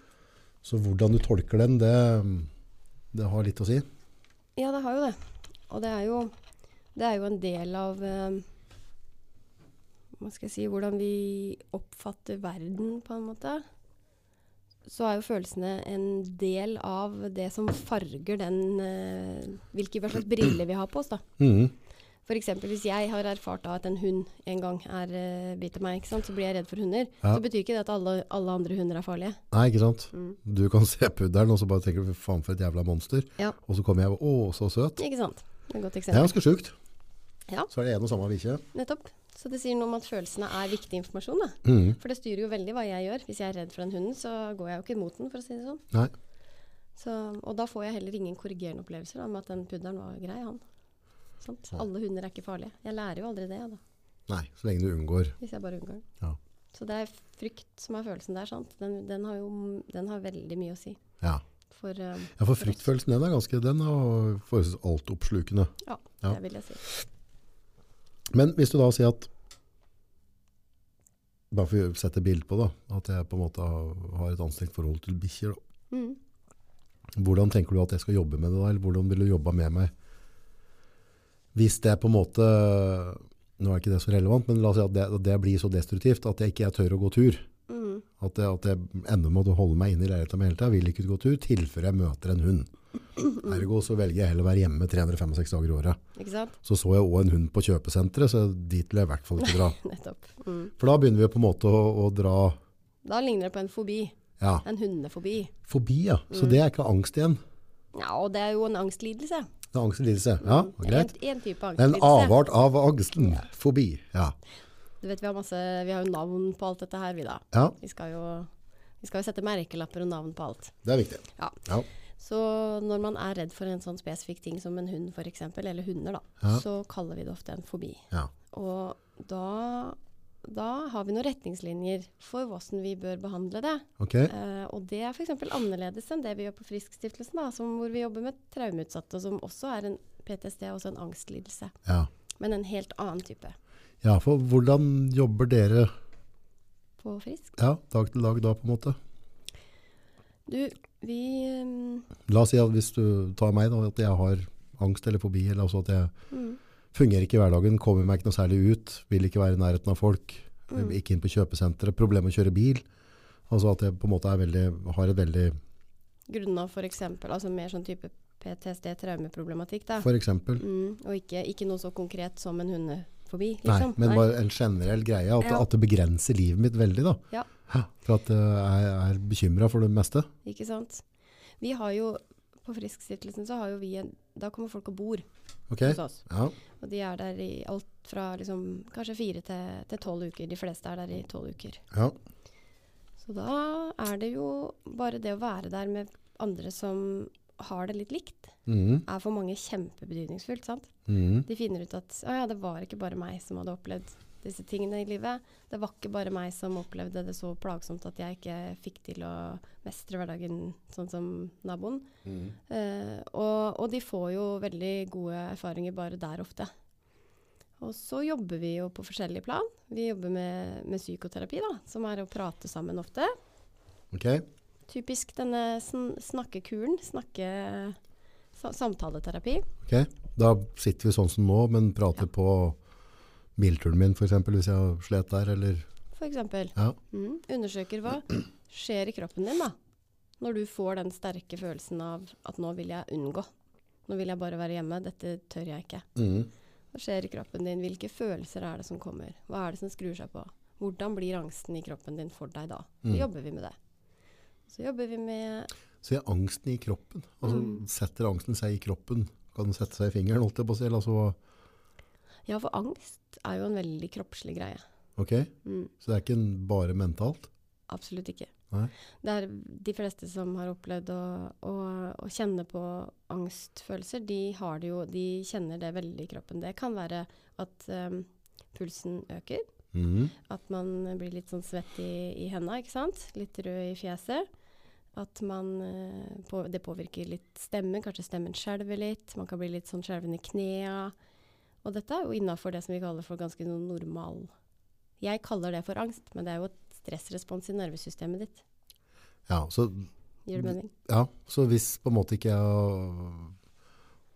så hvordan du tolker den, det, det har litt å si.
Ja, det har jo det. Og det er jo, det er jo en del av eh, Hva skal jeg si Hvordan vi oppfatter verden, på en måte. Så er jo følelsene en del av det som farger den eh, Hvilke hva slags briller vi har på oss, da.
Mhm.
F.eks. hvis jeg har erfart da at en hund en gang er, eh, biter meg, ikke sant? så blir jeg redd for hunder.
Ja.
Så betyr ikke det at alle, alle andre hunder er farlige.
Nei, ikke sant?
Mm.
Du kan se pudderen, og så bare tenker du, "Fy faen for et jævla monster.
Ja.
Og så kommer jeg, å, så søt.
Ikke sant? Det er et
Det
godt
er
eksempel.
ganske sjukt.
Ja.
Så er det en og samme bikkje.
Nettopp. Så det sier noe om at følelsene er viktig informasjon. da.
Mhm.
For det styrer jo veldig hva jeg gjør. Hvis jeg er redd for den hunden, så går jeg jo ikke imot den, for å si det sånn.
Nei.
Så, og da får jeg heller ingen korrigerende opplevelser da, med at den pudderen var grei, han. Sant?
Ja.
Alle hunder er ikke farlige. Jeg lærer jo aldri det, da,
Nei, så lenge du unngår.
hvis jeg bare unngår den.
Ja.
Så det er frykt som er følelsen der, sant. Den, den har jo den har veldig mye å si.
Ja.
For eh,
Ja, for fryktfølelsen, den er ganske, den er forholdsvis alt oppslukende.
Ja,
Ja.
det vil jeg si.
Men hvis du da sier at Bare for å sette bilde på da, at jeg på en måte har- har et anstrengt forhold til bikkjer. da.
Mm.
Hvordan tenker du at jeg skal jobbe med det da, eller hvordan vil du jobbe med meg? Hvis det på en måte, nå er ikke det så relevant, men la oss si at det, at det blir så destruktivt at jeg ikke jeg tør å gå tur.
Mm.
At jeg, at jeg ender med å holde meg inne i leiligheten min hele tiden, vil ikke gå tur, tilfør jeg møter en hund. Ergo så velger jeg heller å være hjemme 365 dager i året.
Ikke sant?
Så så jeg også en hund på kjøpesenteret, så dit vil jeg i hvert fall ikke dra.
Nettopp. Mm.
For da begynner vi på en måte å, å dra
Da ligner det på en fobi.
ja,
En hundefobi.
forbi, ja. Så det er ikke angst igjen.
Ja, og det er jo en angstlidelse.
Det er angstlidelse. Ja, greit.
En, en type
Det er en
angstlidelse.
avart av angsten. Fobi. Ja.
Du vet, vi, har masse, vi har jo navn på alt dette her, vi da.
ja,
Vi skal jo, vi skal jo sette merkelapper og navn på alt.
det er viktig.
Ja.
Ja.
Så når man er redd for en sånn spesifikk ting som en hund f.eks., eller hunder, da,
Ja.
så kaller vi det ofte en fobi.
Ja.
Og da, da har vi noen retningslinjer for hvordan vi bør behandle det.
Ok.
Eh, og det er f.eks. annerledes enn det vi gjør på Friskstiftelsen, da, som, hvor vi jobber med traumutsatte, som også er en PTSD, også en angstlidelse.
Ja.
Men en helt annen type.
ja, for hvordan jobber dere
På Frisk.
ja, dag til dag da, på en måte?
Du, vi ehm,
La oss si at hvis du tar meg da, at jeg har angst eller fobi, eller altså at jeg
mm,
fungerer ikke i hverdagen, kommer meg ikke noe særlig ut, vil ikke være i nærheten av folk,
Mm.
ikke inn på kjøpesenteret, problem med å kjøre bil, altså at jeg på en måte er veldig, har et veldig,
Grunna f.eks. altså mer sånn type PTSD, traumeproblematikk, da.
for eksempel,
Mm, og ikke, ikke noe så konkret som en hundefobi,
nei,
liksom.
men bare en generell greie, at,
Ja.
at det begrenser livet mitt veldig da.
Ja.
Hæ, For at eh, jeg er bekymret for det meste.
Ikke sant. Vi har jo på Friskstiftelsen så har jo vi en Da kommer folk og bor
Ok,
hos oss.
ja,
Og de er der i alt fra liksom kanskje fire til til tolv uker. De fleste er der i tolv uker.
ja,
Så da er det jo bare det å være der med andre som har det litt likt,
Mhm,
er for mange kjempebetydningsfullt. sant?
mhm,
De finner ut at å ja, det var ikke bare meg som hadde opplevd disse tingene i livet. Det var ikke bare meg som opplevde det så plagsomt at jeg ikke fikk til å mestre hverdagen sånn som naboen.
mhm.
Eh, og, og de får jo veldig gode erfaringer bare der ofte. Og så jobber vi jo på forskjellige plan. Vi jobber med, med psykoterapi, da, som er å prate sammen ofte.
ok,
Typisk denne sn snakkekuren, snakke sa samtaleterapi.
ok. Da sitter vi sånn som nå, men prater på bilturen min for eksempel, hvis jeg har slet der, eller,
for eksempel.
Ja.
Mm. Undersøker hva skjer i kroppen din da, når du får den sterke følelsen av at nå vil jeg unngå. Nå vil jeg bare være hjemme, dette tør jeg ikke.
mhm,
Hva skjer i kroppen din? Hvilke følelser er det som kommer? Hva er det som skrur seg på? Hvordan blir angsten i kroppen din for deg da? Så
Mm.
jobber vi med det. Så jobber vi med
Så er angsten i kroppen. Altså,
Mm.
Setter angsten seg i kroppen? Kan den sette seg i fingeren? Holdt jeg på å si? eller Altså,
Ja, for angst er jo en veldig kroppslig greie.
ok,
Mm.
så det er ikke en- bare mentalt?
Absolutt ikke.
Nei.
Det er de fleste som har opplevd å, å, å kjenne på angstfølelser, de, har det jo, de kjenner det veldig i kroppen. Det kan være at eh, pulsen øker,
Mhm,
at man blir litt sånn svett i, i henda, ikke sant? Litt rød i fjeset. At man, eh, på, det påvirker litt stemmen, kanskje stemmen skjelver litt. Man kan bli litt sånn skjelven i knea. Og dette er jo innafor det som vi kaller for ganske no- normal Jeg kaller det for angst, men det er jo et stressrespons i nervesystemet ditt.
Ja, så,
Gir det mening?
ja, så hvis på en måte ikke jeg har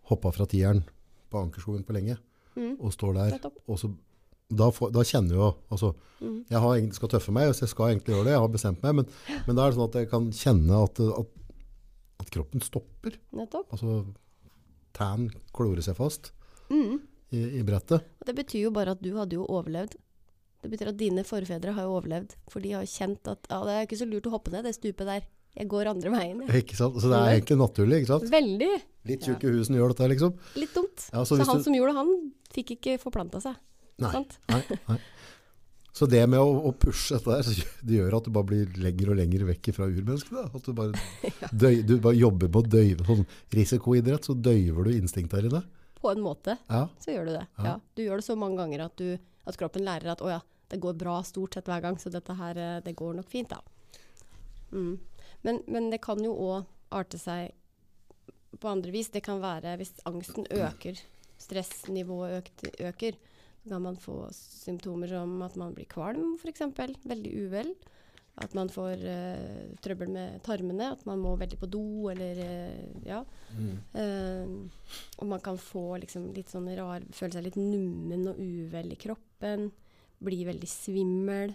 hoppa fra tieren på ankerskogen på lenge,
Mm.
og står der,
Nettopp.
og så, da, får, da kjenner jeg jo altså,
Mm.
Jeg har egentlig, skal tøffe meg, så jeg skal egentlig gjøre det, jeg har bestemt meg, men, men da er det sånn at jeg kan kjenne at, at, at kroppen stopper.
Nettopp.
Altså, tæren klorer seg fast
Mm.
i, i brettet.
Og det betyr jo bare at du hadde jo overlevd. Det betyr at dine forfedre har jo overlevd, for de har jo kjent at ja, det er ikke så lurt å hoppe ned det stupet der. Jeg går andre veien. jeg».
Ikke sant? Så det er egentlig naturlig, ikke sant?
Veldig.
Litt
Ja.
tjukk i husen gjør dette, liksom.
Litt dumt.
Ja, så
så
hvis
han
du-
som gjorde det, han fikk ikke forplanta seg.
Nei.
Sant?
Nei, nei. Så det med å, å pushe dette der, så gjør- det gjør at du bare blir lenger og lenger vekk fra urmennesket. Da. At du bare, døy, du bare jobber på å døyve, sånn risikoidrett, så døyver du instinkter i det.
På en måte,
Ja,
så gjør du det. Ja. Du gjør det så mange ganger at, du, at kroppen lærer at å ja, det går bra stort sett hver gang, så dette her, eh, det går nok fint, da. Mm. Men, men det kan jo òg arte seg på andre vis. Det kan være hvis angsten øker, stressnivået økt, øker, Så kan man få symptomer som at man blir kvalm, f.eks. Veldig uvel. At man får eh, trøbbel med tarmene, at man må veldig på do eller eh, ja.
Mm.
Eh, og man kan få liksom litt sånn rar Føle seg litt nummen og uvel i kroppen. Bli veldig svimmel.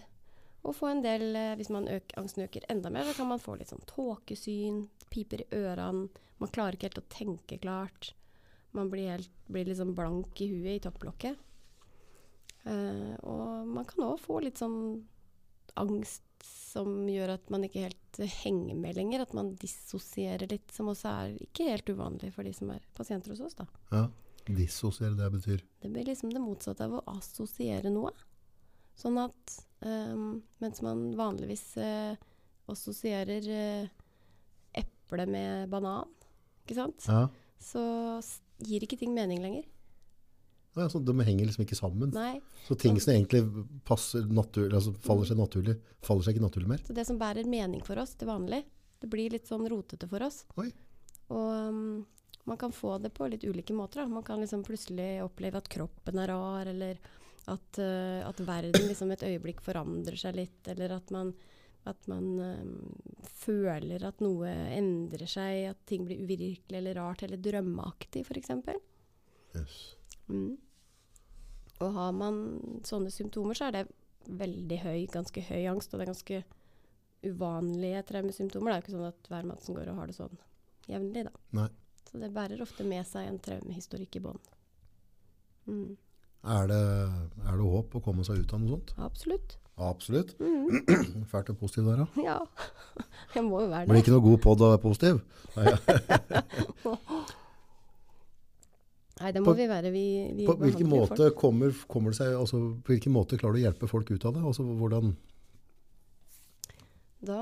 Og få en del, eh, hvis man øk, angsten øker enda mer, så kan man få litt sånn tåkesyn, piper i ørene. Man klarer ikke helt å tenke klart. Man blir, helt, blir litt sånn blank i huet i topplokket. Eh, og man kan òg få litt sånn angst som gjør at man ikke helt eh, henger med lenger. At man dissosierer litt, som også er ikke helt uvanlig for de som er pasienter hos oss. da.
Ja. Dissosiere, det betyr.
Det blir liksom det motsatte av å assosiere noe. Sånn at ehm, mens man vanligvis eh, assosierer eh, eple med banan, ikke sant,
Ja.
så s- gir ikke ting mening lenger.
Ja, så de henger liksom ikke sammen.
Nei.
Så ting som egentlig passer naturlig, altså faller seg naturlig, faller seg ikke naturlig mer.
Så det som bærer mening for oss til vanlig, det blir litt sånn rotete for oss.
Oi.
Og um, man kan få det på litt ulike måter. Da. Man kan liksom plutselig oppleve at kroppen er rar, eller at, eh, at verden liksom et øyeblikk forandrer seg litt, eller at man, at man eh, føler at noe endrer seg, at ting blir uvirkelig eller rart, eller drømmeaktig f.eks.
Yes.
Mm. Og har man sånne symptomer, så er det veldig høy, ganske høy angst. Og det er ganske uvanlige traumesymptomer. Det er jo ikke sånn at hver mann som går og har det sånn jevnlig, da.
Nei.
Så det bærer ofte med seg en traumehistorikk i bånn. Mm.
Er det, er det håp å komme seg ut av noe sånt?
Absolutt.
Absolutt.
Mm.
Fælt og positiv der, ja.
Ja. Jeg må jo være
Blir
det.
ikke noe god på å være positiv.
Nei, det må
På-
vi være. Vi, vi
På hvilken
behandler jo
måte kommer, kommer det seg, altså på hvilken måte klarer du å hjelpe folk ut av det? Altså hvordan,
Da,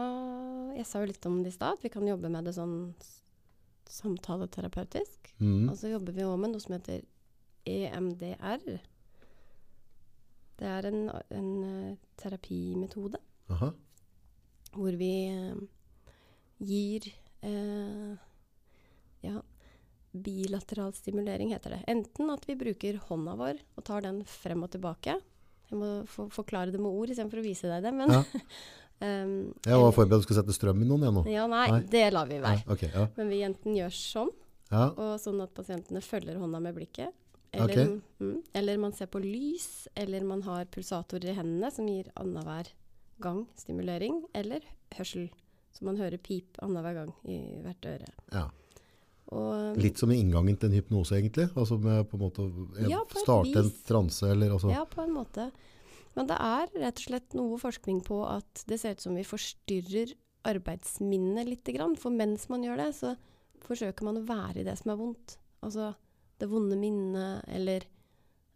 Jeg sa jo litt om det i stad, at vi kan jobbe med det sånn s- samtaleterapeutisk.
mm,
Og så jobber vi også med noe som heter E EMDR. Det er en, en eh, terapimetode
aha,
hvor vi eh, gir eh, ja, bilateral stimulering, heter det. Enten at vi bruker hånda vår og tar den frem og tilbake. Jeg må for forklare det med ord istedenfor å vise deg det. Men,
Ja.
Em,
jeg var forberedt på å skulle sette strøm i noen jeg nå.
ja, nei,
Nei.
det lar vi være.
Ok, ja.
Men vi enten gjør sånn,
ja.
og sånn at pasientene følger hånda med blikket. Eller, mm, eller man ser på lys, eller man har pulsatorer i hendene som gir annenhver gang stimulering, eller hørsel. Så man hører pip annenhver gang i hvert øre.
ja.
Og,
Litt som i inngangen til en hypnose egentlig, altså med på en måte å eh,
Ja, på et
starte en
vis.
transe eller altså,
Ja, på en måte. Men det er rett og slett noe forskning på at det ser ut som vi forstyrrer arbeidsminnet litt. Grann, for mens man gjør det, så forsøker man å være i det som er vondt. Altså det vonde minnet, eller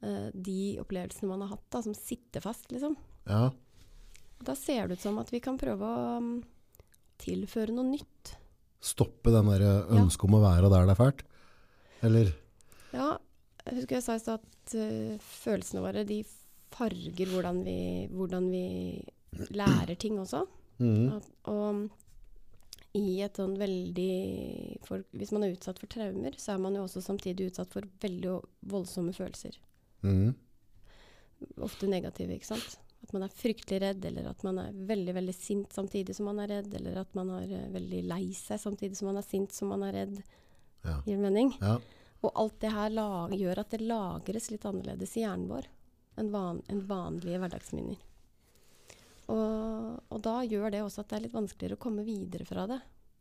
eh, de opplevelsene man har hatt da, som sitter fast, liksom.
ja.
Da ser det ut som at vi kan prøve å mm, tilføre noe nytt.
stoppe den der eh, ønsket om å være der det er fælt. Eller,
Ja, jeg husker jeg sa i stad at eh, følelsene våre de farger hvordan vi, hvordan vi lærer ting også.
mm,
At, og i et sånn veldig for, Hvis man er utsatt for traumer, så er man jo også samtidig utsatt for veldig o- voldsomme følelser.
mm,
Ofte negative, ikke sant. At man er fryktelig redd, eller at man er veldig veldig sint samtidig som man er redd, eller at man er eh, veldig lei seg samtidig som man er sint som man er redd.
Ja.
Gir det mening?
ja.
Og alt det her la- gjør at det lagres litt annerledes i hjernen vår enn van, enn vanlige hverdagsminner. Og, og da gjør det også at det er litt vanskeligere å komme videre fra det.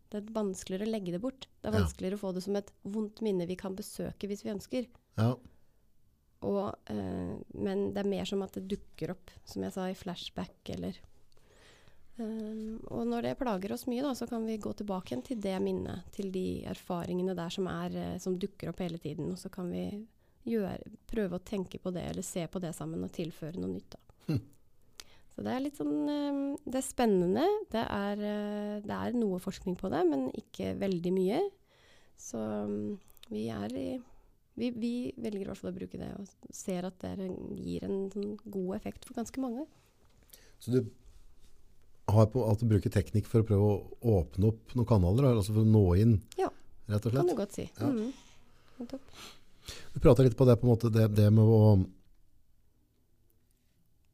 Det er vanskeligere å legge det bort. Det er
Ja.
vanskeligere å få det som et vondt minne vi kan besøke hvis vi ønsker.
ja.
Og, eh, men det er mer som at det dukker opp, som jeg sa, i flashback eller Eh, Og når det plager oss mye, da, så kan vi gå tilbake igjen til det minnet, til de erfaringene der som, er, eh, som dukker opp hele tiden. Og så kan vi gjøre, prøve å tenke på det, eller se på det sammen, og tilføre noe nytt. Da. Så det er litt sånn eh, Det er spennende. Det er, eh, det er noe forskning på det, men ikke veldig mye. Så mm, vi er i vi, vi velger i hvert fall å bruke det, og s- ser at det er en, gir en sånn god effekt for ganske mange.
Så du har på at du bruker teknikk for å prøve å åpne opp noen kanaler, altså for å nå inn,
Ja.
rett og
Kan
slett.
du godt si. Mm.
Ja.
Mhm. Nettopp.
Du prata litt på det, på en måte, det, det med å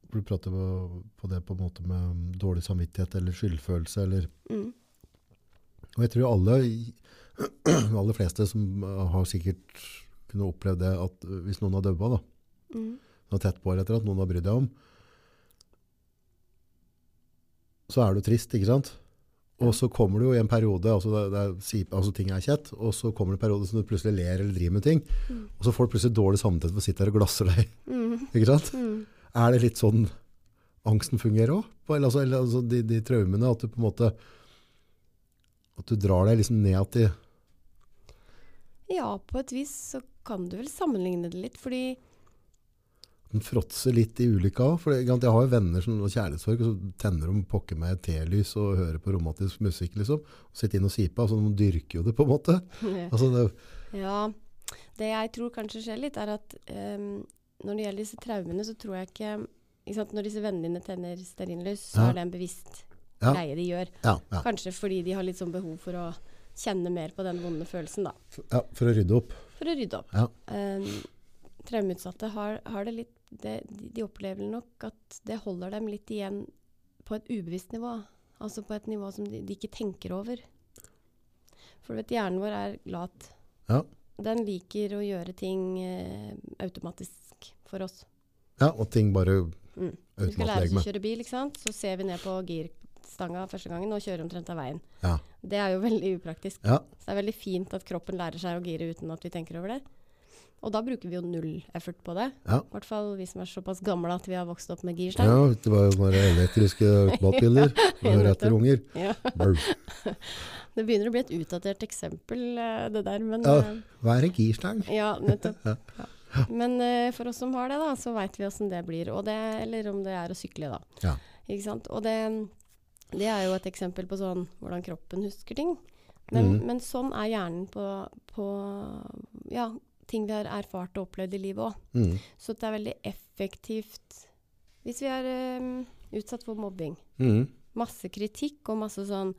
for du prater på, på det på en måte med um, dårlig samvittighet eller skyldfølelse. Eller,
Mm.
og jeg tror alle, alle fleste som uh, har sikkert kunne opplevd det at uh, hvis noen har døbba, da,
Mm.
noe tett på eller etter at noen har brydd deg om, så er du trist, ikke sant? Og så kommer du jo i en periode, altså, det, det, er si- altså ting er kjett, og så kommer det en periode som du plutselig ler eller driver med ting,
Mm.
og så får du plutselig dårlig samvittighet for å sitte her og glasser deg,
Mm.
ikke sant?
Mm.
Er det litt sånn angsten fungerer òg? Eller, altså, eller altså, de, de traumene, at du på en måte at du drar deg liksom ned til
Ja, på et vis så kan du vel sammenligne det litt, fordi
den fråtser litt i ulykka òg. For det- ikke sant, jeg har jo venner som har kjærlighetssorg, og så tenner de pokker meg et telys og hører på romantisk musikk, liksom. Og sitter inn og siper. Altså, de dyrker jo det, på en måte. Altså, det,
Ja. Det jeg tror kanskje skjer litt, er at em, når det gjelder disse traumene, så tror jeg ikke ikke sant? Når disse vennene dine tenner stearinlys, så
Ja.
er det en bevisst
Ja.
greie de gjør.
ja, ja,
Kanskje fordi de har litt sånn behov for å kjenne mer på den vonde følelsen, da.
F- ja, for å rydde opp.
For å rydde opp.
Ja.
Em, traumeutsatte har, har det litt det, de, de opplever nok at det holder dem litt igjen på et ubevisst nivå. Altså på et nivå som de, de ikke tenker over. For du vet, hjernen vår er lat.
Ja.
Den liker å gjøre ting eh, automatisk for oss.
ja, og ting bare
Mm. Vi skal lære
automatlegger
oss å
med.
kjøre bil, ikke sant? så ser vi ned på girstanga første gangen og kjører omtrent av veien.
Ja.
Det er jo veldig upraktisk.
Ja,
Så det er veldig fint at kroppen lærer seg å gire uten at vi tenker over det. Og da bruker vi jo null effort på det.
Ja.
I hvert fall vi som er såpass gamle at vi har vokst opp med girstang.
ja, det var jo sånne elektriske automatbiler. Hører etter unger.
Ja.
Brr.
Det begynner å bli et utdatert eksempel, eh, det der. Men
Ja.
eh,
Hva er en girstang?
Ja, nettopp. Ja. Men eh, for oss som har det, da, så veit vi åssen det blir. Og det, eller om det er å sykle, da.
Ja.
Ikke sant? Og det, det er jo et eksempel på sånn hvordan kroppen husker ting. Men,
Mhm.
men sånn er hjernen på, på ja, ting vi har erfart og opplevd i livet òg.
Mm.
Så det er veldig effektivt hvis vi er eh, utsatt for mobbing.
Mm.
Masse kritikk og masse sånn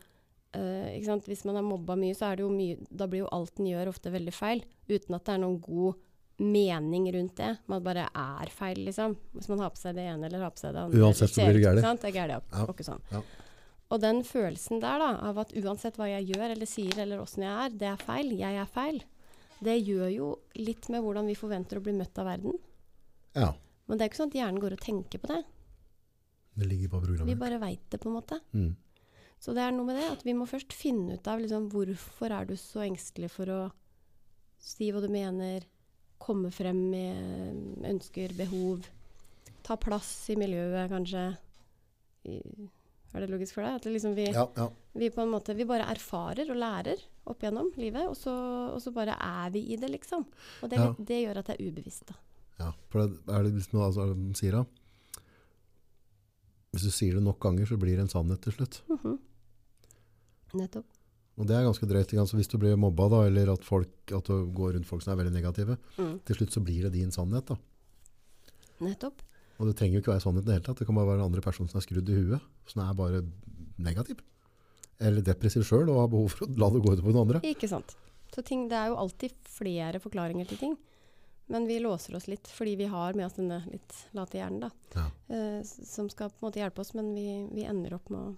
eh, ikke sant? Hvis man er mobba mye, så er det jo mye, da blir jo alt en gjør, ofte veldig feil. Uten at det er noen god mening rundt det. Man bare er feil, liksom. Hvis man har på seg det ene eller har på seg det andre.
Uansett
eller
så
ser
blir det
ut,
gærlig.
ikke sant? Det er gærlig, ja.
Ja.
Og ikke sånn.
Ja.
Og den følelsen der, da, av at uansett hva jeg gjør eller sier eller åssen jeg er, det er feil. Jeg er feil. Det gjør jo litt med hvordan vi forventer å bli møtt av verden.
Ja,
Men det er ikke sånn at hjernen går og tenker på det.
det ligger på
Vi
programmet.
bare veit det, på en måte.
Mm.
Så det er noe med det at vi må først finne ut av liksom, hvorfor er du så engstelig for å si hva du mener, komme frem med ønsker, behov, ta plass i miljøet, kanskje. I, er det logisk for deg? At det liksom vi,
Ja, ja.
vi på en måte vi bare erfarer og lærer opp gjennom livet, og så, og så bare er vi i det, liksom. Og det, er
Ja.
litt- det gjør at det er ubevisst, da.
Ja, for det er det liksom altså, hva de sier da. Hvis du sier det nok ganger, så blir det en sannhet til slutt.
Mhm. Nettopp.
Og det er ganske drøyt. ikke sant? Så hvis du blir mobba, da, eller at, folk, at du går rundt folk som er veldig negative,
Mm.
til slutt så blir det din sannhet. da.
Nettopp.
Og det trenger jo ikke være sannheten i det hele tatt. Det kan bare være en andre person som er skrudd i huet, som er bare negativ. Eller depressiv sjøl og har behov for å la det gå utover den andre.
Ikke sant. Så ting, det er jo alltid flere forklaringer til ting. Men vi låser oss litt fordi vi har med oss denne litt late hjernen, da.
Ja.
Eh, s- som skal på en måte hjelpe oss, men vi, vi ender opp med å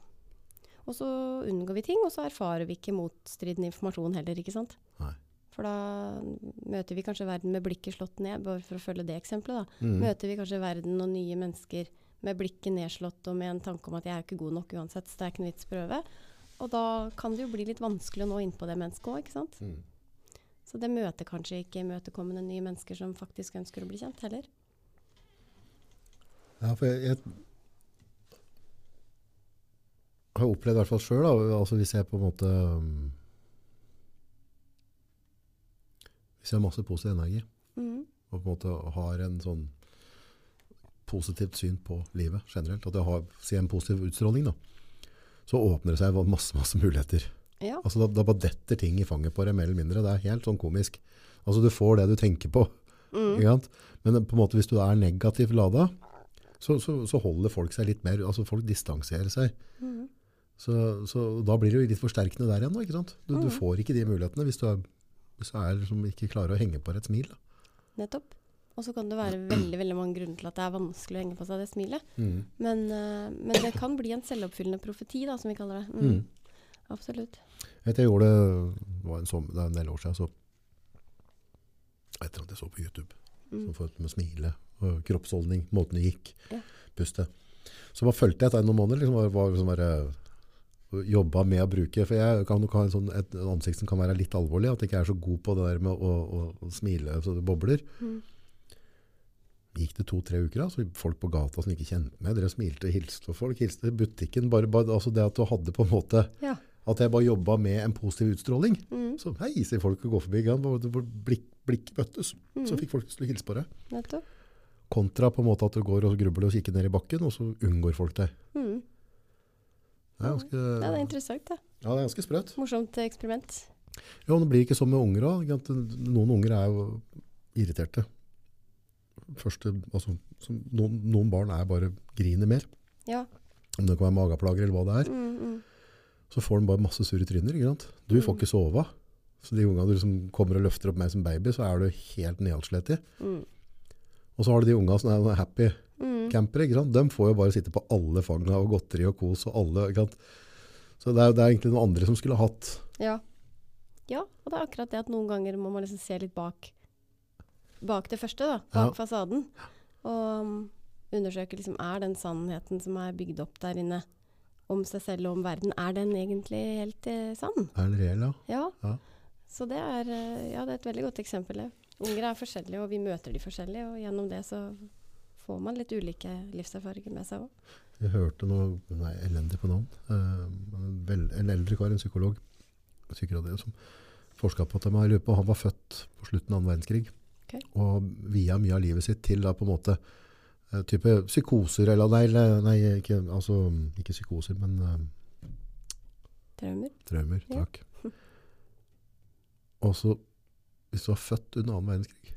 Og så unngår vi ting, og så erfarer vi ikke motstridende informasjon heller, ikke sant.
Nei.
For da møter vi kanskje verden med blikket slått ned, bare for å følge det eksempelet, da.
Mm.
Møter vi kanskje verden og nye mennesker med blikket nedslått og med en tanke om at jeg er ikke god nok uansett, så det er ikke noe vits prøve. Og da kan det jo bli litt vanskelig å nå innpå det mennesket òg, ikke sant.
Mm.
Så det møter kanskje ikke imøtekommende nye mennesker som faktisk ønsker å bli kjent heller.
Ja, for jeg, jeg har opplevd i hvert fall sjøl, da. Altså hvis jeg på en måte um, Hvis jeg har masse positiv energi
Mhm.
og på en måte har en sånn positivt syn på livet generelt, at jeg har si en positiv utstråling, da, så åpner det seg masse, masse muligheter.
Ja.
Altså da, da bare detter ting i fanget på deg, mer eller mindre. Det er helt sånn komisk. Altså du får det du tenker på. Ikke sant? Men eh, på en måte hvis du er negativt lada, så, så, så holder folk seg litt mer, altså folk distanserer seg.
Mhm.
Så, så da blir det jo litt forsterkende der igjen, da, ikke sant? Du, du får ikke de mulighetene hvis du er, hvis du er liksom ikke klarer å henge på et smil. Da.
Nettopp. Og så kan det være veldig veldig mange grunner til at det er vanskelig å henge på seg det smilet.
Mm.
Men, eh, men det kan bli en selvoppfyllende profeti, da, som vi kaller det. Mm.
Mm.
Absolutt.
Vet du, jeg gjorde det, det var en, sommer, det er en del år siden, så etter at jeg så på YouTube,
Mm.
så folk med smile, og kroppsholdning, måten det gikk,
Ja.
puste. Så bare følte jeg etter noen måneder, liksom, var, var liksom bare, jobba med å bruke, for jeg kan nok ha en sånn, et ansikt som kan være litt alvorlig, at jeg ikke er så god på det der med å, å, å smile så det bobler.
Mm.
Gikk det to-tre uker da, så folk på gata som ikke kjente meg, dere smilte og hilste, og folk hilste i butikken, bare, bare, altså det at du hadde på en måte,
Ja.
at jeg bare jobba med en positiv utstråling.
Mm.
Så hei, sier folk og går forbi. Ja, hvor- hvor Blikk, blikk møttes.
Mm.
Så fikk folk lyst til å hilse på deg.
Nettopp.
Kontra på en måte at du går og grubler og kikker ned i bakken, og så unngår folk deg.
Mm.
Det er ganske,
Ja, det er
ja,
interessant. da.
det er ganske sprøtt.
Morsomt eh, eksperiment.
Ja, men det blir ikke sånn med unger òg. Noen unger er jo irriterte. Første, altså, som, noen, noen barn er bare griner mer.
Ja.
Om det kan være mageplager eller hva det er.
Mm, mm.
Så får de bare masse surre tryner. ikke sant? Du får ikke sove. Så de ungene du liksom kommer og løfter opp meg som baby, så er du helt nedslett i.
Mm.
Og så har du de unga som er noen happy
Mm.
campere. ikke sant? De får jo bare sitte på alle fanga og godteri og kos og alle. ikke sant? Så det er, det er egentlig noen andre som skulle hatt
Ja. ja. Og det er akkurat det at noen ganger må man liksom se litt bak, bak det første, da. Bak
Ja.
fasaden. Og um, undersøke liksom, er den sannheten som er bygd opp der inne om seg selv og om verden, er den egentlig helt eh, sann?
Er den reell, ja?
Ja.
Ja.
Så det er, eh, ja, det er et veldig godt eksempel. det. Unger er forskjellige, og vi møter de forskjellige. Og gjennom det så får man litt ulike livserfaringer med seg òg.
Jeg hørte noe Nei, elendig på navn. Eh, en vel, en eldre kar, en psykolog, psykolog som forska på at han, lurer på, han var født på slutten av annen verdenskrig.
Ok.
Og via mye av livet sitt til da på en måte eh, type psykoser eller Nei, eller- nei ikke, altså, ikke psykoser, men eh,
Traumer.
Traumer,
Ja.
takk. Og så, hvis du var født under 2. verdenskrig,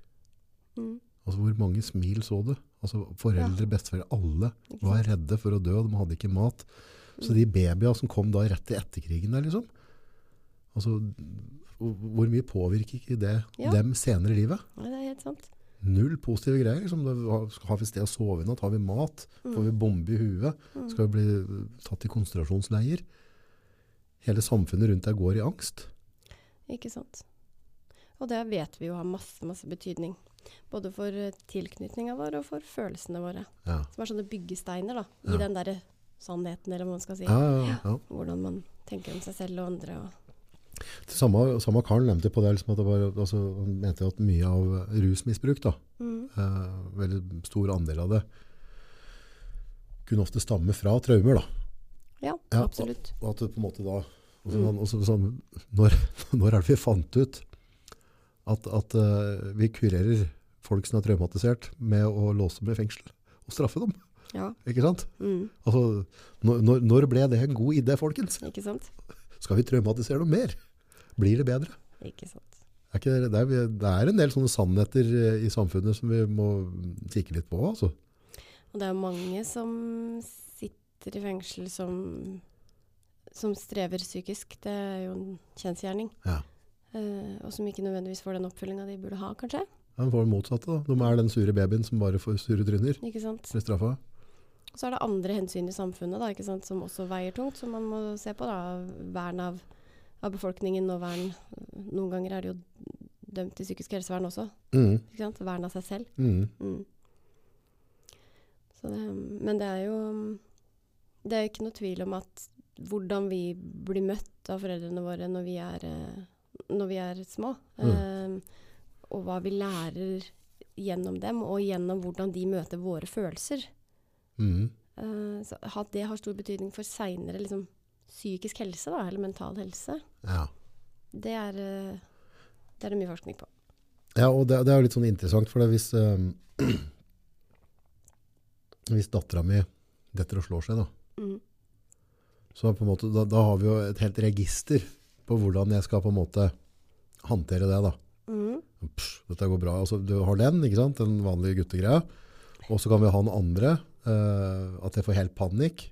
Mm.
altså hvor mange smil så du? Altså foreldre, besteforeldre, alle
Ikke
var
sant? Mm.
redde for å dø, de hadde ikke mat. Så de babyer som kom da rett i etterkrigen der, liksom, altså hvor hvor mye påvirker ikke det
Ja.
dem senere i livet?
Nei, det er helt sant.
Null positive greier, liksom. Da har- Har vi sted å sove i natt? Har vi mat? Får
Mm.
vi bombe i huet? Skal vi bli tatt i konsentrasjonsleier? Hele samfunnet rundt deg går i angst.
Ikke sant. Og det vet vi jo har masse, masse betydning. Både for eh, tilknytninga vår og for følelsene våre.
Ja.
Som er sånne byggesteiner da, i
Ja.
den derre sannheten, eller hva man skal si.
Ja, ja, ja.
Hvordan man tenker om seg selv og andre. Og,
Det Samme, samme Karl nevnte på det, liksom at det var, altså, han mente at mye av rusmisbruk, da,
mm,
eh, veldig stor andel av det, kunne ofte stamme fra traumer. Da.
ja,
Ja,
absolutt.
Og at det på en måte da, og så- og så- sånn, når, når er det vi fant ut at, at eh, vi kurerer folk som er traumatisert med å låse dem i fengsel og straffe dem?
Ja,
Ikke sant?
mm,
Altså, når, når- når ble det en god idé, folkens?
ikke sant?
Skal vi traumatisere dem mer? Blir det bedre?
Ikke sant.
Er ikke det, det, er, det er en del sånne sannheter eh, i samfunnet som vi må kikke litt på. Altså.
Og det er jo mange som sitter i fengsel som, som strever psykisk. Det er jo en kjensgjerning.
Ja.
Eh, og som ikke nødvendigvis får den oppfyllinga de burde ha, kanskje.
De får det motsatte. Da. De er den sure babyen som bare får sure tryner.
Ikke sant?
Blir straffa.
Så er det andre hensyn i samfunnet da, ikke sant, som også veier tungt, som man må se på. da, Vern av, av befolkningen og vern Noen ganger er det jo dømt til psykisk helsevern også.
Mm,
ikke sant, Vern av seg selv.
mm,
Mm. Så det, men det er jo Det er ikke noe tvil om at hvordan vi blir møtt av foreldrene våre når vi er, eh, når vi er små, eh, og hva vi lærer gjennom dem, og gjennom hvordan de møter våre følelser.
mm.
Eh, så at det har stor betydning for seinere liksom, psykisk helse, da, eller mental helse,
Ja.
det er, eh, det er det mye forskning på.
ja, og det, det er jo litt sånn interessant, for det hvis, eh, hvis dattera mi detter og slår seg, da,
Mm.
så på en måte, da, da har vi jo et helt register på hvordan jeg skal på en måte håndtere det. da.
Mm.
Psh, dette går bra. Altså, du har den, ikke sant? Den vanlige guttegreia. Og så kan vi ha den andre. eh, at jeg får helt panikk.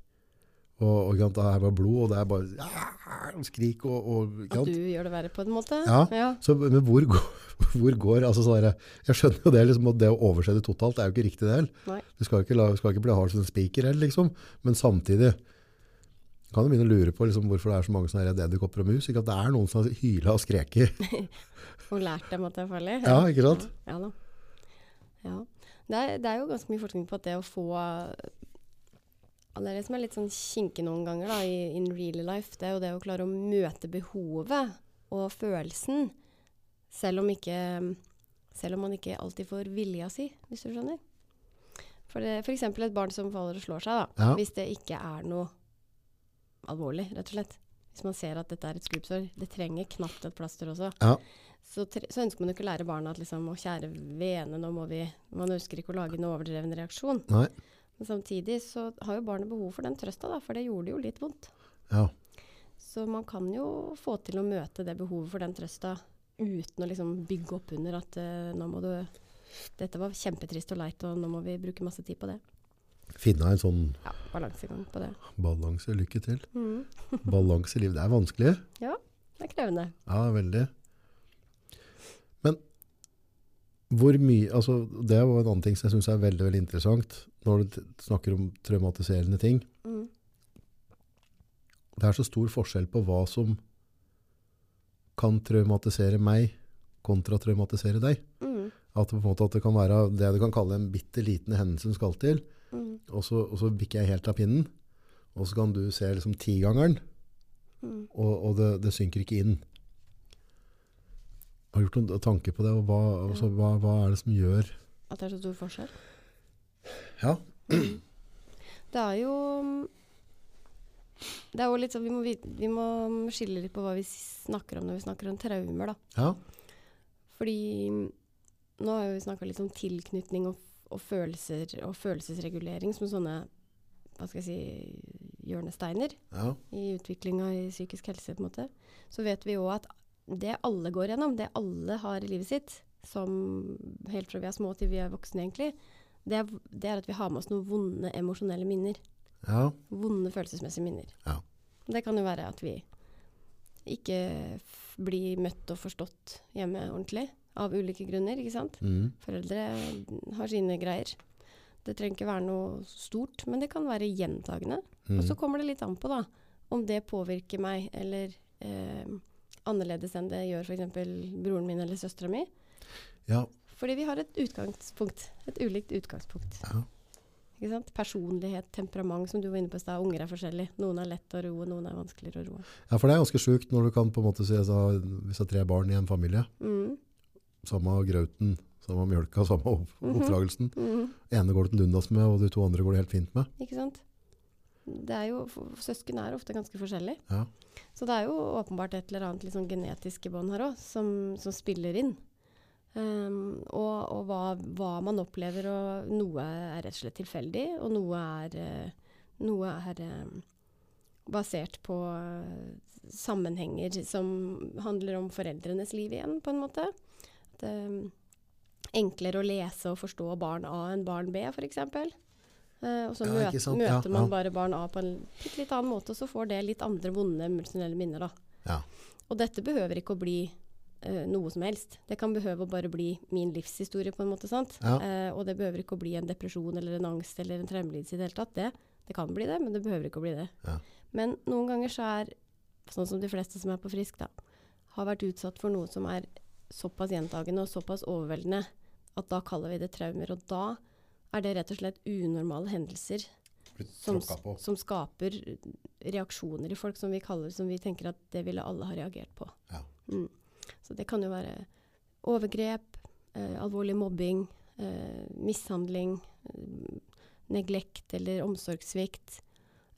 Og, og ikke sant, det er bare blod, og det er bare ja, skrik og, og ikke
At
sant?
du gjør det verre på en måte?
Ja.
ja.
Så, men hvor går, hvor går altså sånn derre- Jeg skjønner jo det, liksom, at det å overse det totalt er jo ikke riktig det
Nei.
heller. Du skal ikke, la, skal ikke bli hard som en spiker heller, liksom. Men samtidig kan du begynne å lure på liksom, hvorfor det er så mange som er redd edderkopper og mus. Ikke at det er noen som har hyla og skreket.
Og lært dem at det er farlig?
Ja, ikke sant?
Ja da. Ja. Det, er, det er jo ganske mye forskning på at det å få og Det er det som er litt sånn kinkig noen ganger da, i in real life. Det er jo det å klare å møte behovet og følelsen, selv om, ikke, selv om man ikke alltid får vilja si, hvis du skjønner. For, det, for eksempel et barn som faller og slår seg, da,
Ja.
hvis det ikke er noe alvorlig, rett og slett. Hvis man ser at dette er et skrubbsår. Det trenger knapt et plaster også
Ja.
så, tre- så ønsker man jo ikke å lære barna at liksom, å kjære vene, nå må vi Man ønsker ikke å lage en overdreven reaksjon.
Nei.
Men samtidig så har jo barnet behov for den trøsta, da, for det gjorde jo litt vondt.
Ja.
Så man kan jo få til å møte det behovet for den trøsta uten å liksom bygge opp under at eh, nå må du Dette var kjempetrist og leit, og nå må vi bruke masse tid på det.
Finne en sånn
Ja, balansegang på det.
balanse. Lykke til.
Mhm.
Balanse i livet. Det er vanskelig.
Ja, det er krevende.
Ja, veldig. Men hvor mye altså, Det var en annen ting som jeg syns er veldig veldig interessant når du t- snakker om traumatiserende ting.
Mhm.
Det er så stor forskjell på hva som kan traumatisere meg, kontra traumatisere deg.
Mhm.
At, det på en måte, at det kan være det du kan kalle en bitte liten hendelse som skal til,
Mhm.
og så, og så bikker jeg helt av pinnen. Og så kan du se liksom tigangeren,
Mhm.
og, og det, det synker ikke inn. Har du gjort noen tanke på det, og hva, altså, hva, hva er det som gjør
At det er så stor forskjell.
Ja,
Det er jo mm, det er jo litt sånn, vi, må, vit- vi må mm, skille litt på hva vi snakker om når vi snakker om traumer. Da.
ja,
Fordi mm, nå har vi snakka litt om tilknytning og, og følelser og følelsesregulering som sånne hva skal jeg si, hjørnesteiner
ja,
i utviklinga i psykisk helse. på en måte. Så vet vi òg at det alle går gjennom, det alle har i livet sitt, som helt fra vi er små til vi er voksne, egentlig, det er, det er at vi har med oss noen vonde emosjonelle minner
ja,
vonde følelsesmessige minner.
Ja.
Det kan jo være at vi ikke f blir møtt og forstått hjemme ordentlig, av ulike grunner, ikke sant?
mm,
Foreldre har sine greier. Det trenger ikke være noe stort, men det kan være gjentagende.
mm,
Og så kommer det litt an på da, om det påvirker meg, eller eh, annerledes enn det gjør f.eks. broren min eller søstera mi.
ja,
Fordi vi har et utgangspunkt, et ulikt utgangspunkt.
ja,
Ikke sant? Personlighet, temperament, som du var inne på i stad. Unger er forskjellige. Noen er lett å roe, noen er vanskeligere å roe.
ja, for det er ganske sjukt når du kan på en måte se så, hvis det er tre barn i en familie,
Mm.
samme grauten, samme mjølka, samme opp oppdragelsen.
Mm.
ene går det til dundas med, og de to andre går det helt fint med.
Ikke sant? Det er jo, f- søsken er ofte ganske forskjellige.
Ja,
Så det er jo åpenbart et eller annet litt sånn genetiske bånd her òg, som, som spiller inn. Ehm, og og hva, hva man opplever, og noe er rett og slett tilfeldig, og noe er, eh, noe er eh, basert på eh, sammenhenger som handler om foreldrenes liv igjen, på en måte. At, eh, enklere å lese og forstå barn A enn barn B, f.eks. Uh, og så
Ja,
møt,
ikke sant? Ja,
møter man
ja.
bare barn A på en litt, litt annen måte, og så får det litt andre vonde emosjonelle minner, da.
ja,
Og dette behøver ikke å bli eh, noe som helst. Det kan behøve å bare bli min livshistorie, på en måte. sant?
Ja.
Eh, og det behøver ikke å bli en depresjon eller en angst eller en traumelidelse i det hele tatt. Det, det kan bli det, men det behøver ikke å bli det.
Ja.
Men noen ganger så er, sånn som de fleste som er på frisk, da, har vært utsatt for noe som er såpass gjentagende og såpass overveldende at da kaller vi det traumer. Og da er det rett og slett unormale hendelser som, som skaper reaksjoner i folk som vi kaller som vi tenker at det ville alle ha reagert på.
Ja.
Mm. Så det kan jo være overgrep, eh, alvorlig mobbing, eh, mishandling, eh, neglekt eller omsorgssvikt.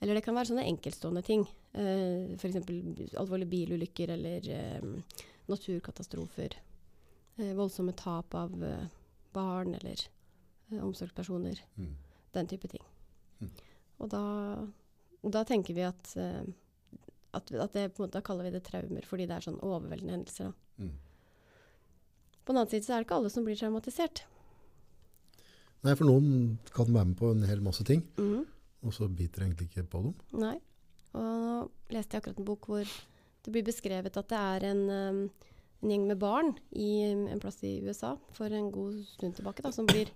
Eller det kan være sånne enkeltstående ting. Eh, F.eks. alvorlige bilulykker eller eh, naturkatastrofer. Eh, voldsomme tap av eh, barn eller eh, omsorgspersoner.
Mm.
Den type ting.
Mm.
Og da, da tenker vi at, eh, at, at det, på en måte, Da kaller vi det traumer, fordi det er sånn overveldende hendelser. Da.
Mm.
På den annen side så er det ikke alle som blir traumatisert.
Nei, for noen kan være med på en hel masse ting,
Mhm.
og så biter jeg egentlig ikke på dem.
Nei. Og nå leste jeg akkurat en bok hvor det blir beskrevet at det er en, um, en gjeng med barn i um, en plass i USA for en god stund tilbake da, som blir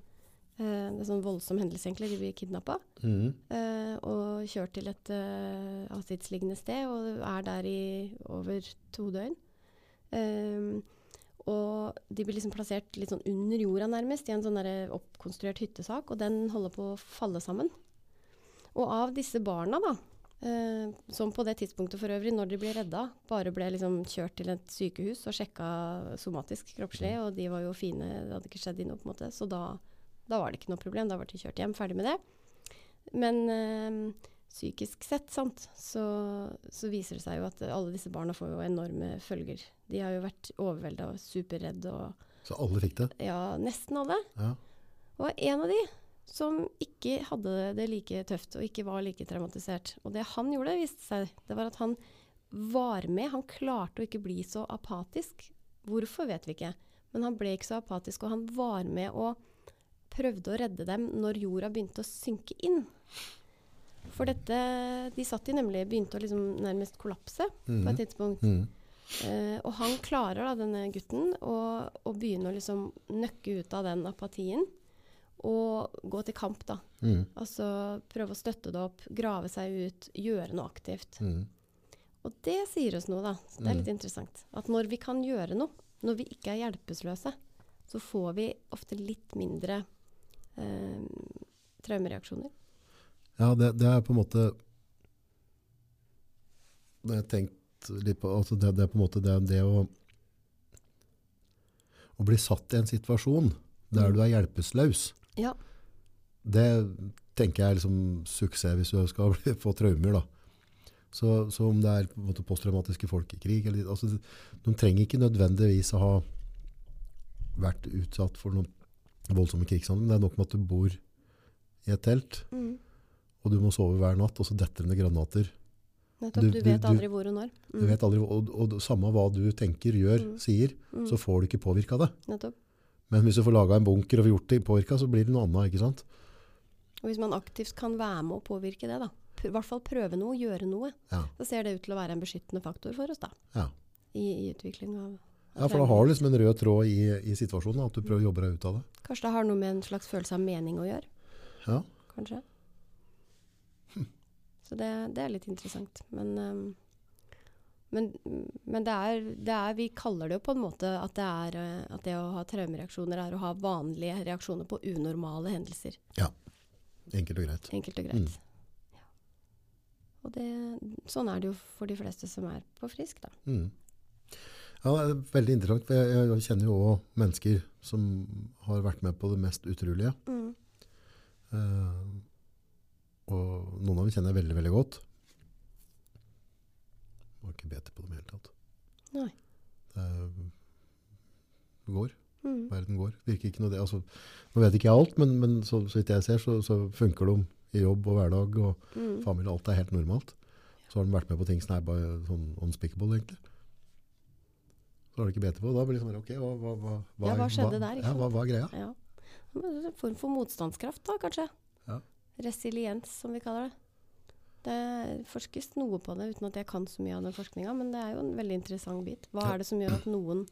eh, Det er sånn voldsom hendelse, egentlig. De blir kidnappa
Mhm.
eh, og kjørt til et eh, avsidesliggende sted og er der i over to døgn. Ehm, og de blir liksom plassert litt sånn under jorda nærmest, i en sånn derre oppkonstruert hyttesak, og den holder på å falle sammen. Og av disse barna, da, eh, som på det tidspunktet for øvrig, når de ble redda, bare ble liksom kjørt til et sykehus og sjekka somatisk kroppslig, og de var jo fine, det hadde ikke skjedd de noe, på en måte, så da, da var det ikke noe problem, da var de kjørt hjem, ferdig med det. Men eh, psykisk sett, sant, så, så viser det seg jo at alle disse barna får jo enorme følger. De har jo vært overvelda og superredde, og
Så alle fikk det?
ja, nesten alle.
Ja.
Og en av de som ikke hadde det like tøft og ikke var like traumatisert. Og det han gjorde, viste seg, det var at han var med. Han klarte å ikke bli så apatisk. Hvorfor vet vi ikke, men han ble ikke så apatisk, og han var med og prøvde å redde dem når jorda begynte å synke inn. For dette, de satt i nemlig, begynte å liksom nærmest kollapse på
Mhm.
et tidspunkt.
Mhm.
Eh, og han klarer da, denne gutten, å, å begynne å liksom nøkke ut av den apatien. Og gå til kamp, da.
Mhm.
Altså prøve å støtte det opp, grave seg ut, gjøre noe aktivt.
Mhm.
Og det sier oss noe, da. Så det er litt
Mm.
interessant. At når vi kan gjøre noe, når vi ikke er hjelpeløse, så får vi ofte litt mindre eh, traumereaksjoner.
Ja, det, det er på en måte Det har jeg tenkt litt på. Altså det, det er på en måte det, det å Å bli satt i en situasjon der du er hjelpeløs,
Ja.
det tenker jeg er liksom suksess hvis du skal bli, få traumer. da. Så, så om det er på en måte posttraumatiske folk i krig eller, altså, De trenger ikke nødvendigvis å ha vært utsatt for noen voldsomme krigshandlinger. Det er nok med at du bor i et telt
Mm.
og du må sove hver natt, og så detter det ned granater.
Nettopp.
Du-
Du,
du-
vet
du-
aldri hvor og når.
Du vet aldri, og, og, samme hva du tenker, gjør, sier, så får du ikke påvirka det.
Mm. Nettopp.
Men hvis du får laga en bunker og gjort det påvirka, så blir det noe annet. ikke sant?
Og hvis man aktivt kan være med å påvirke det, da. Pr- I hvert fall prøve noe, gjøre noe.
Ja,
Så ser det ut til å være en beskyttende faktor for oss, da.
ja.
I, i utvikling av
ja for da har du liksom en rød tråd i, i situasjonen, da, at du prøver å jobbe deg ut av det.
Kanskje det har noe med en slags følelse av mening å gjøre.
Ja,
Kanskje. Så det, det er litt interessant. Men, ehm, men, men det, er, det er Vi kaller det jo på en måte at det, er, eh, at det å ha traumereaksjoner er å ha vanlige reaksjoner på unormale hendelser.
Enkelt og greit.
Enkelt og greit.
Mm.
Ja. Og det, sånn er det jo for de fleste som er på frisk, da.
Mm. Ja, det er Veldig interessant. for Jeg, jeg kjenner jo òg mennesker som har vært med på det mest utrolige.
Mm.
Eh, og noen av dem kjenner jeg veldig, veldig godt. Var ikke bedre på dem i det hele tatt.
Nei.
Det er- det Eh, går.
Mm.
Verden går. Virker ikke noe det. Altså, nå vet ikke jeg alt, men, men så, så vidt jeg ser, så, så funker de i jobb og hverdag og
Mm.
familie. Alt er helt normalt. Så har de vært med på ting som er bare sånn unspeakable, egentlig. Så har de ikke bedt på. Da blir det sånn, ok, hva, hva, hva, hva,
Ja, hva skjedde
hva,
der, ikke
Ja,
sant?
hva, hva er greia?
Ja. Men det er En form for motstandskraft, da, kanskje.
Ja.
Resiliens, som vi kaller det. Det forskes noe på det, uten at jeg kan så mye av den forskninga, men det er jo en veldig interessant bit. Hva
Ja.
er det som gjør at noen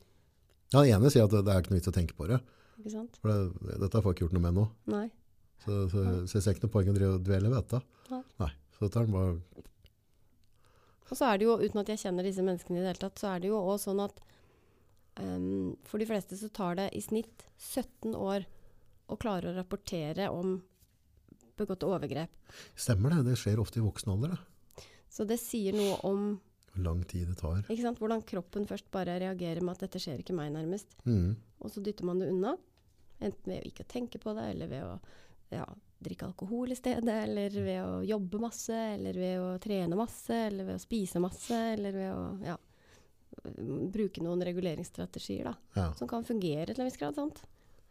Ja, den ene sier at det, det er ikke noe vits å tenke på det.
Ikke sant?
For det, dette får jeg ikke gjort noe med nå.
Nei.
Så, så, så jeg ser ikke noe poeng å drive og dvele ved dette.
Nei.
Så dette er den bare,
Og så er det jo, uten at jeg kjenner disse menneskene i det hele tatt, så er det jo òg sånn at ehm, for de fleste så tar det i snitt 17 år å klare å rapportere om begåtte overgrep.
stemmer det, det skjer ofte i voksen alder. Det.
Så det sier noe om
Hvor lang tid det tar.
ikke sant, hvordan kroppen først bare reagerer med at 'dette skjer ikke meg', nærmest.
Mm.
Og så dytter man det unna. Enten ved å ikke tenke på det, eller ved å ja, drikke alkohol i stedet, eller ved å jobbe masse, eller ved å trene masse, eller ved å spise masse, eller ved å ja, m, bruke noen reguleringsstrategier da,
Ja.
som kan fungere til en viss grad sant?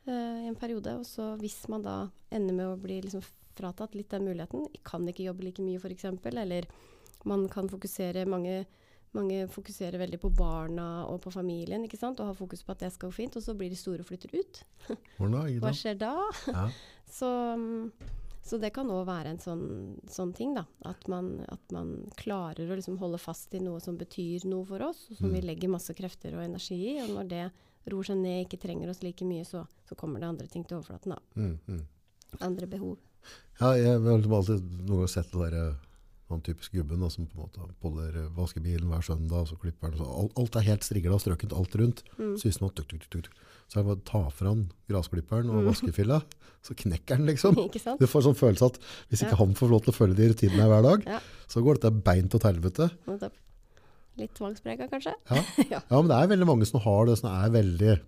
Eh, i en periode. Og så hvis man da ender med å bli liksom fratatt litt den muligheten, kan ikke jobbe like mye f.eks., eller man kan fokusere mange mange fokuserer veldig på barna og på familien ikke sant? og har fokus på at det skal gå fint, og så blir de store og flytter ut.
Hvordan da?
Hva
Ida?
skjer da?
Ja.
Så, mm, Så det kan òg være en sånn, sånn ting, da. At man, at man klarer å liksom holde fast i noe som betyr noe for oss, og som vi
Mm.
legger masse krefter og energi i. Og når det ror seg ned, ikke trenger oss like mye, så, så kommer det andre ting til overflaten. da.
Mm, mm.
Andre behov.
Ja, jeg har liksom alltid noen gang sett det der, eh, han typiske gubben da, som på en måte poller eh, vaskebilen hver søndag, og så klipper han, og så alt, alt er helt strigla og strøket alt rundt.
Mm.
Så visste man, tuk, tuk, tuk, tuk, tuk. Så er det bare å ta fra han grasklipperen og
Mm.
vaskefilla, så knekker han liksom.
ikke sant?
Du får sånn følelse at hvis ikke
Ja.
han får lov til å følge de rutinene her hver dag,
Ja.
så går dette beint til helvete.
Nettopp. Litt tvangsprega, kanskje?
Ja.
Ja.
ja, men det er veldig mange som har det, som er veldig,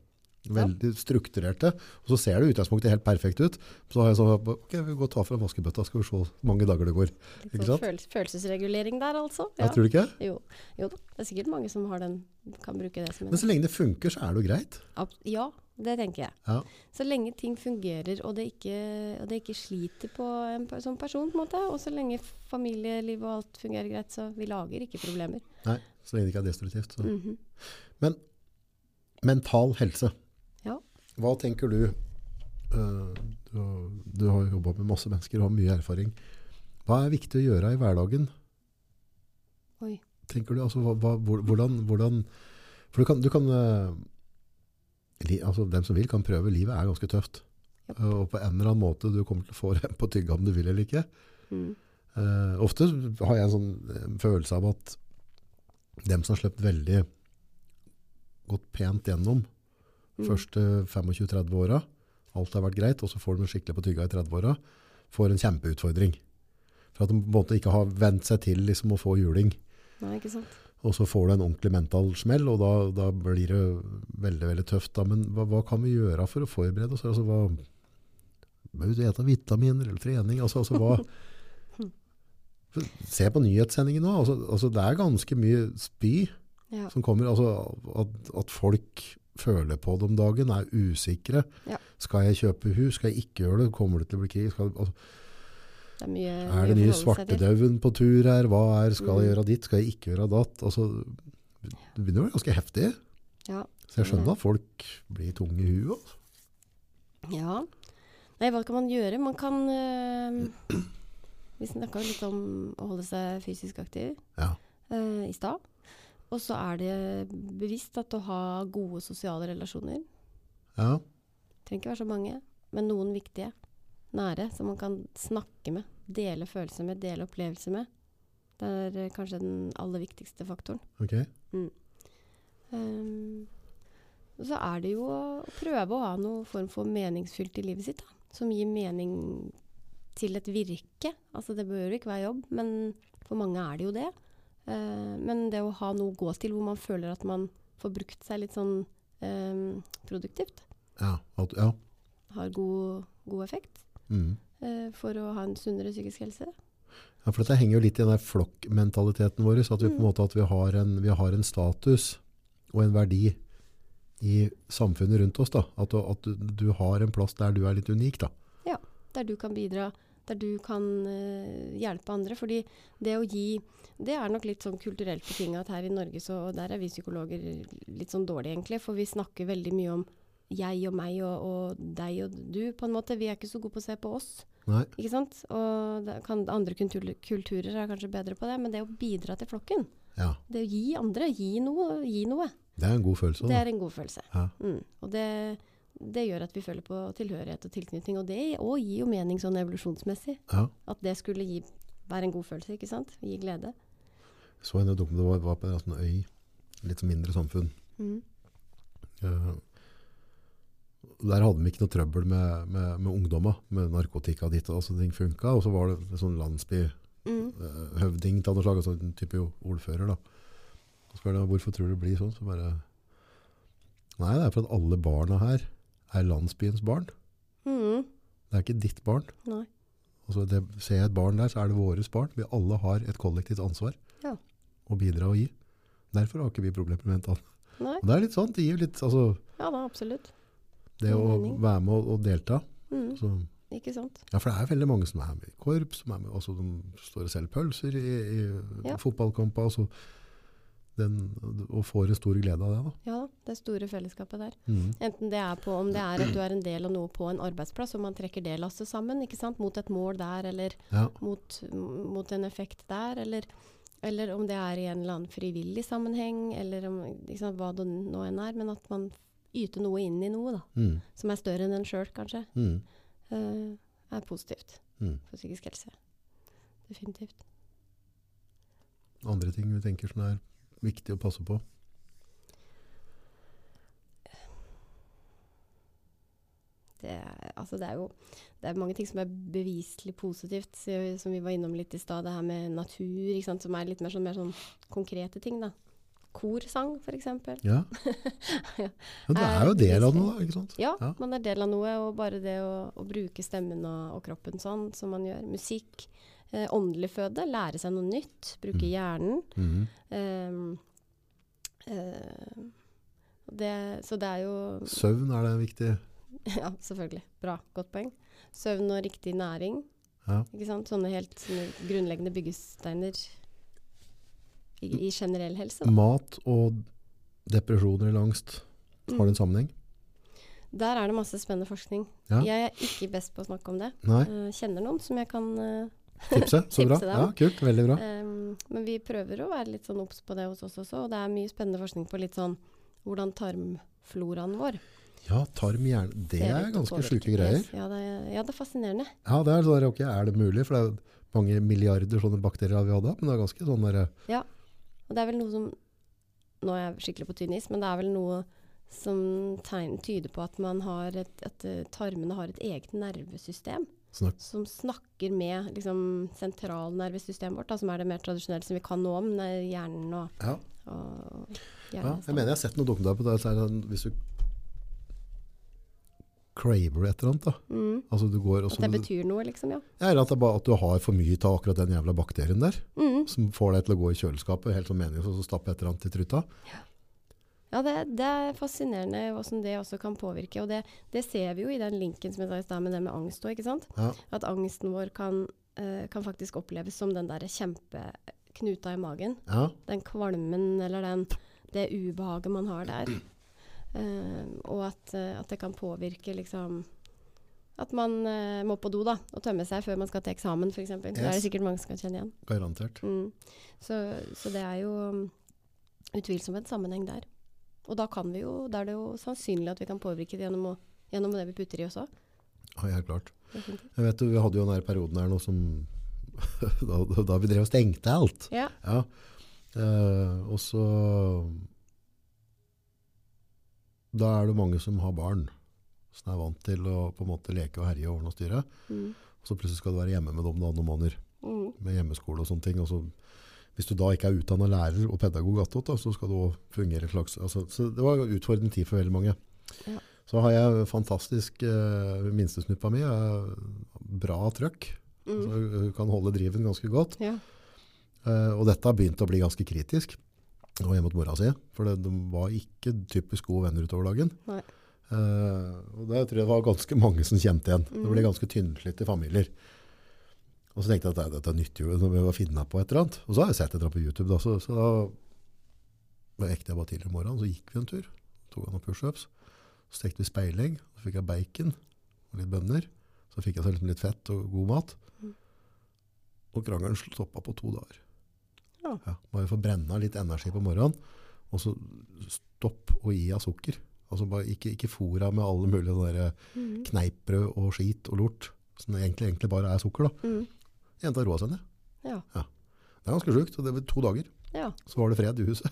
veldig strukturerte. Og så ser det i utgangspunktet helt perfekt ut. Så har jeg sånn, ok, vi går og tar fra vaskebøtta, skal vi se hvor mange dager det går.
Litt
Ikke
sånn
sant?
følels følelsesregulering der, altså. Ja.
Jeg tror det ikke.
Jo. jo da, det er sikkert mange som har den, kan bruke det som en
Men så lenge det funker, så er det jo greit.
Ab- Ja, det tenker jeg.
Ja.
Så lenge ting fungerer, og det ikke, og det ikke sliter på en pe- som person, på en måte, og så lenge familielivet og alt fungerer greit, så vi lager ikke problemer.
Nei, så lenge det ikke er destruktivt. Så.
Mhm.
Mental helse.
Ja.
Hva tenker du? eh, Du har, du har jobbet med masse mennesker og har mye erfaring. Hva er viktig å gjøre i hverdagen?
Oi.
Tenker du, altså, hva, hva, hvor- hvordan, hvordan For du kan, du kan eh, li, altså, Dem som vil, kan prøve. Livet er ganske tøft.
Japp.
Eh, Og på en eller annen måte du kommer til å få rem på tygga om du vil eller ikke.
Mm.
Eh, ofte har jeg en sånn eh, følelse av at dem som har sluppet veldig godt pent gjennom
Mm.
første 25-30 åra, alt har vært greit, og så får de skikkelig på tygga i 30 åra, får en kjempeutfordring. For at de på en måte ikke har vent seg til liksom, å få juling.
Nei, ikke sant.
Og så får du en ordentlig mental smell, og da, da blir det veldig, veldig tøft. Da. Men hva, hva kan vi gjøre for å forberede oss? Altså, hva, bør vi ete vitaminer eller trening? Altså, altså, hva, se på nyhetssendingen nå. Altså, altså, det er ganske mye spy
Ja.
som kommer. Altså, at, at folk føler på det om dagen, er usikre.
Ja.
Skal jeg kjøpe hus? Skal jeg ikke gjøre det? Kommer det til å bli krig? Skal, altså,
Det er mye
er det
mye
mye
å forholde seg til.
svartedauden på tur her? Hva er, skal jeg
Mm.
gjøre ditt, skal jeg ikke gjøre datt? Altså, det begynner å være ganske heftig.
Ja.
Så jeg skjønner at folk blir tunge i huet. altså.
ja. Nei, hva kan man gjøre? Man kan øh, Vi snakka jo litt om å holde seg fysisk aktiv
Ja.
øh, i stad. Og så er det bevisst at å ha gode sosiale relasjoner
Ja.
trenger ikke være så mange, men noen viktige. Nære, som man kan snakke med. Dele følelser med, dele opplevelser med. Det er eh, kanskje den aller viktigste faktoren.
ok.
Ehm, og så er det jo å prøve å ha noen form for meningsfylt i livet sitt, da. Som gir mening til et virke. Altså det bør jo ikke være jobb, men for mange er det jo det. Eh, men det å ha noe å gå til hvor man føler at man får brukt seg litt sånn ehm, produktivt,
Ja. At, ja.
har god, god effekt.
Mm.
eh, for å ha en sunnere psykisk helse.
ja, for dette henger jo litt i den der flokkmentaliteten vår, så at vi
Mm.
på en måte at vi har, en, vi har en status og en verdi i samfunnet rundt oss. Da. At, du, at du, du har en plass der du er litt unik. Da.
Der du kan bidra, der du kan eh, hjelpe andre. Fordi det å gi Det er nok litt sånn kulturelt betinga at her i Norge så og Der er vi psykologer litt sånn dårlige, egentlig. For vi snakker veldig mye om jeg og meg og, og deg og du, på en måte. Vi er ikke så gode på å se på oss.
Nei.
Ikke sant? Og da kan, andre kultur- kulturer er kanskje bedre på det, men det å bidra til flokken,
Ja.
det å gi andre, gi noe, gi noe,
Det er en god følelse.
Det
Da.
er en god følelse.
Ja.
Mm. Og det, det gjør at vi føler på tilhørighet og tilknytning. Og det òg gir jo mening sånn evolusjonsmessig.
Ja.
At det skulle gi, være en god følelse, ikke sant? Gi glede.
Så en dokument, det var, var på en sånn øy, litt sånn mindre samfunn.
Mm.
Eh, Der hadde de ikke noe trøbbel med, med, med ungdommer, med narkotika ditt og sånne ting funket, og så var det en sånn landsbyhøvding
Mm.
til noe slag, altså en type jo- ordfører da. Og så var det, hvorfor tror du det blir sånn? Så bare, nei, det er for at alle barna her er landsbyens barn.
Mm.
Det er ikke ditt barn.
Nei.
Altså det, ser jeg et barn der, så er det våres barn. Vi alle har et kollektivt ansvar
Ja.
å bidra og gi. Derfor har ikke vi problemer med mental.
Nei.
Og det er litt sånn, det gir litt, altså,
Ja da, absolutt.
det
Gir
å
mening.
være med og, og delta.
Mm.
Så,
Ikke sant.
ja, for det er veldig mange som er med i korps, som er med, altså, de står og selger pølser i, i
Ja.
fotballkamper. Altså, den, og får en stor glede av det. Da.
Ja, det store fellesskapet der.
Mm.
Enten det er på om det er at du er en del av noe på en arbeidsplass, og man trekker det lasset sammen ikke sant? mot et mål der, eller
Ja.
mot, mot en effekt der, eller, eller om det er i en eller annen frivillig sammenheng, eller om, ikke sant, hva det nå enn er. Men at man yter noe inn i noe, da,
Mm.
som er større enn en sjøl, kanskje,
Mm.
eh, er positivt
Mm.
for psykisk helse. Definitivt.
Andre ting vi tenker som er viktig å passe på.
Det er, altså det er jo det er mange ting som er beviselig positivt, så- som vi var innom litt i stad. Det her med natur, ikke sant, som er litt mer sånn, mer sånn konkrete ting, da. Korsang, f.eks.
Ja.
Ja.
Men det er jo
Er
del av
beviselig.
noe, da. ikke sant?
Ja,
Ja.
man er del av noe, og bare det å, å bruke stemmen og, og kroppen sånn som man gjør. Musikk, eh, åndelig føde, lære seg noe nytt,
Mm.
bruke hjernen.
Mhm.
ehm, eh, det, så det er jo
Søvn er det viktig.
Ja, selvfølgelig. Bra. Godt poeng. Søvn og riktig næring.
Ja.
Ikke sant? Sånne helt sånne grunnleggende byggesteiner i, i generell helse. Da.
Mat og depresjoner eller angst, har det en sammenheng?
Der er det masse spennende forskning.
Ja.
Jeg er ikke best på å snakke om det.
Nei?
Eh, kjenner noen som jeg kan eh,
Tipse? Så bra.
Tipse dem.
Ja, kult. Veldig
Eh,
bra.
em, Ehm, Men vi prøver å være litt sånn obs på det hos oss også. Og det er mye spennende forskning på litt sånn hvordan tarmfloraen vår
Ja, tarm, hjerne Det
ser
er
ut og
ganske
påvirker.
sjuke greier.
Ja, det er, ja, det er fascinerende.
Ja, det er sånn der, ok, er det mulig? For det er jo mange milliarder sånne bakterier vi hadde, men det er ganske sånn der,
Og det er vel noe som Nå er jeg skikkelig på tynn is, men det er vel noe som tegn, tyder på at, man har et, at eh, tarmene har et eget nervesystem
Snakk.
som snakker med liksom, sentralnervesystemet vårt, da, som er det mer tradisjonelle som vi kan noe om, nei, hjernen og,
ja,
og
ja,
hjernen.
jeg mener jeg har sett noe dokumentar på det, så er det sånn, hvis du craver et eller annet da,
mm,
altså du går og
At
så,
det betyr noe, liksom, ja.
ja, eller at det er bare at du har for mye av akkurat den jævla bakterien der,
Mm.
som får deg til å gå i kjøleskapet, helt sånn meningen, og så stapper et eller annet i truta.
Ja, det, det er fascinerende hvordan det også kan påvirke. Og det, det ser vi jo i den linken som jeg sa i stad med det med angst òg, ikke sant.
Ja,
At angsten vår kan, eh, kan faktisk oppleves som den der kjempeknuta i magen.
ja,
Den kvalmen eller den, det ubehaget man har der. Eh, og at, eh, at det kan påvirke liksom At man eh, må på do da, og tømme seg før man skal til eksamen f.eks. eksempel. Det er det
Yes.
sikkert mange som kan kjenne igjen.
garantert.
Mm. Så, så det er jo mm, utvilsomt en sammenheng der. Og da kan vi jo, da er det jo sannsynlig at vi kan påvirke det gjennom, å, gjennom det vi putter i oss òg.
Ja, helt klart. Jeg vet jo, vi hadde jo den her perioden her nå som, da, da- da vi drev og stengte alt.
Ja.
Ja. Eh, og så Da er det mange som har barn, som er vant til å på en måte leke og herje og ordne og styre.
Mm.
Og så plutselig skal du være hjemme med dem da noen måneder,
Mm.
med hjemmeskole og sånne ting. Og så, hvis du da ikke er utdanna lærer og pedagog, attåt, da, så skal du òg fungere slags altså, Så det var en utfordrende tid for veldig mange.
Ja.
Så har jeg fantastisk eh, Minstesnuppa mi er bra trøkk.
Mm.
så Hun kan holde driven ganske godt.
Ja.
Eh, og dette har begynt å bli ganske kritisk. Det var hjemme mot mora si, for det, de var ikke typisk gode venner utover dagen.
Nei.
Eh, og det tror jeg det var ganske mange som kjente igjen. Det ble
Mhm.
ganske tynnflytte familier. Og så tenkte jeg at nei, dette nytter jo, når vi var finne på et eller annet. Og så har jeg sett et eller annet på YouTube, da, så, så da var jeg ekte jeg bare tidlig om morgenen, så gikk vi en tur. Tok han noen push-ups. Så stekte vi speilegg, så fikk jeg bacon og litt bønner. Så fikk jeg så liksom litt fett og god mat.
Mhm.
Og krangelen stoppa på to dager.
Ja.
Ja, bare få brenne av litt energi på morgenen, og så stopp å gi av sukker. Altså bare ikke, ikke fôra med alle mulige sånne der
Mm.
kneippbrød og skit og lort, som egentlig, egentlig bare er sukker. da.
Mm.
Jenta roa seg ned.
Ja.
Det er ganske sjukt. og Det var to dager,
ja.
så var det fred i huset.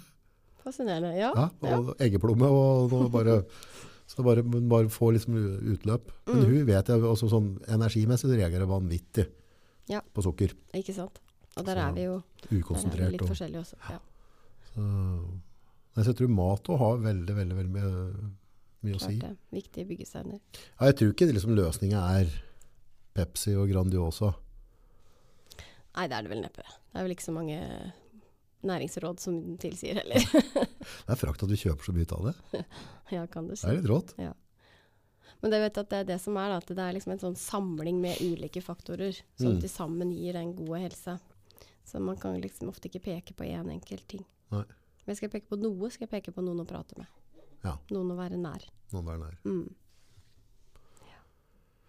Fascinerende. Ja.
Ja, og eggeplomme og noe bare... Så bare, men bare få liksom utløp. Men
Mm.
hun vet jeg også sånn energimessig reagerer vanvittig
Ja.
på sukker.
Ikke sant. Og der
Så
er vi jo der er vi
Ukonsentrert.
litt
og-
forskjellige også. Ja.
Så, Eh, Nei, så jeg tror mat også har veldig, veldig, veldig mye, mye å
Klart
si.
det. Viktige byggesteiner.
Ja, jeg tror ikke det liksom, løsninga er Pepsi og Grandiosa.
Nei, det er det vel neppe. Det er vel ikke så mange næringsråd som tilsier heller.
Det er frakt at vi kjøper så mye av det.
ja, kan du
Det er
si.
litt rått.
Men det, vet jeg at det er det som er, da, at det er liksom en sånn samling med ulike faktorer som
Mm.
til sammen gir den gode helsa. Så man kan liksom ofte ikke peke på én enkelt ting.
Nei.
Men skal jeg peke på noe, skal jeg peke på noen å prate med.
Ja.
Noen å være nær.
Noen der nær.
Mm. Ja.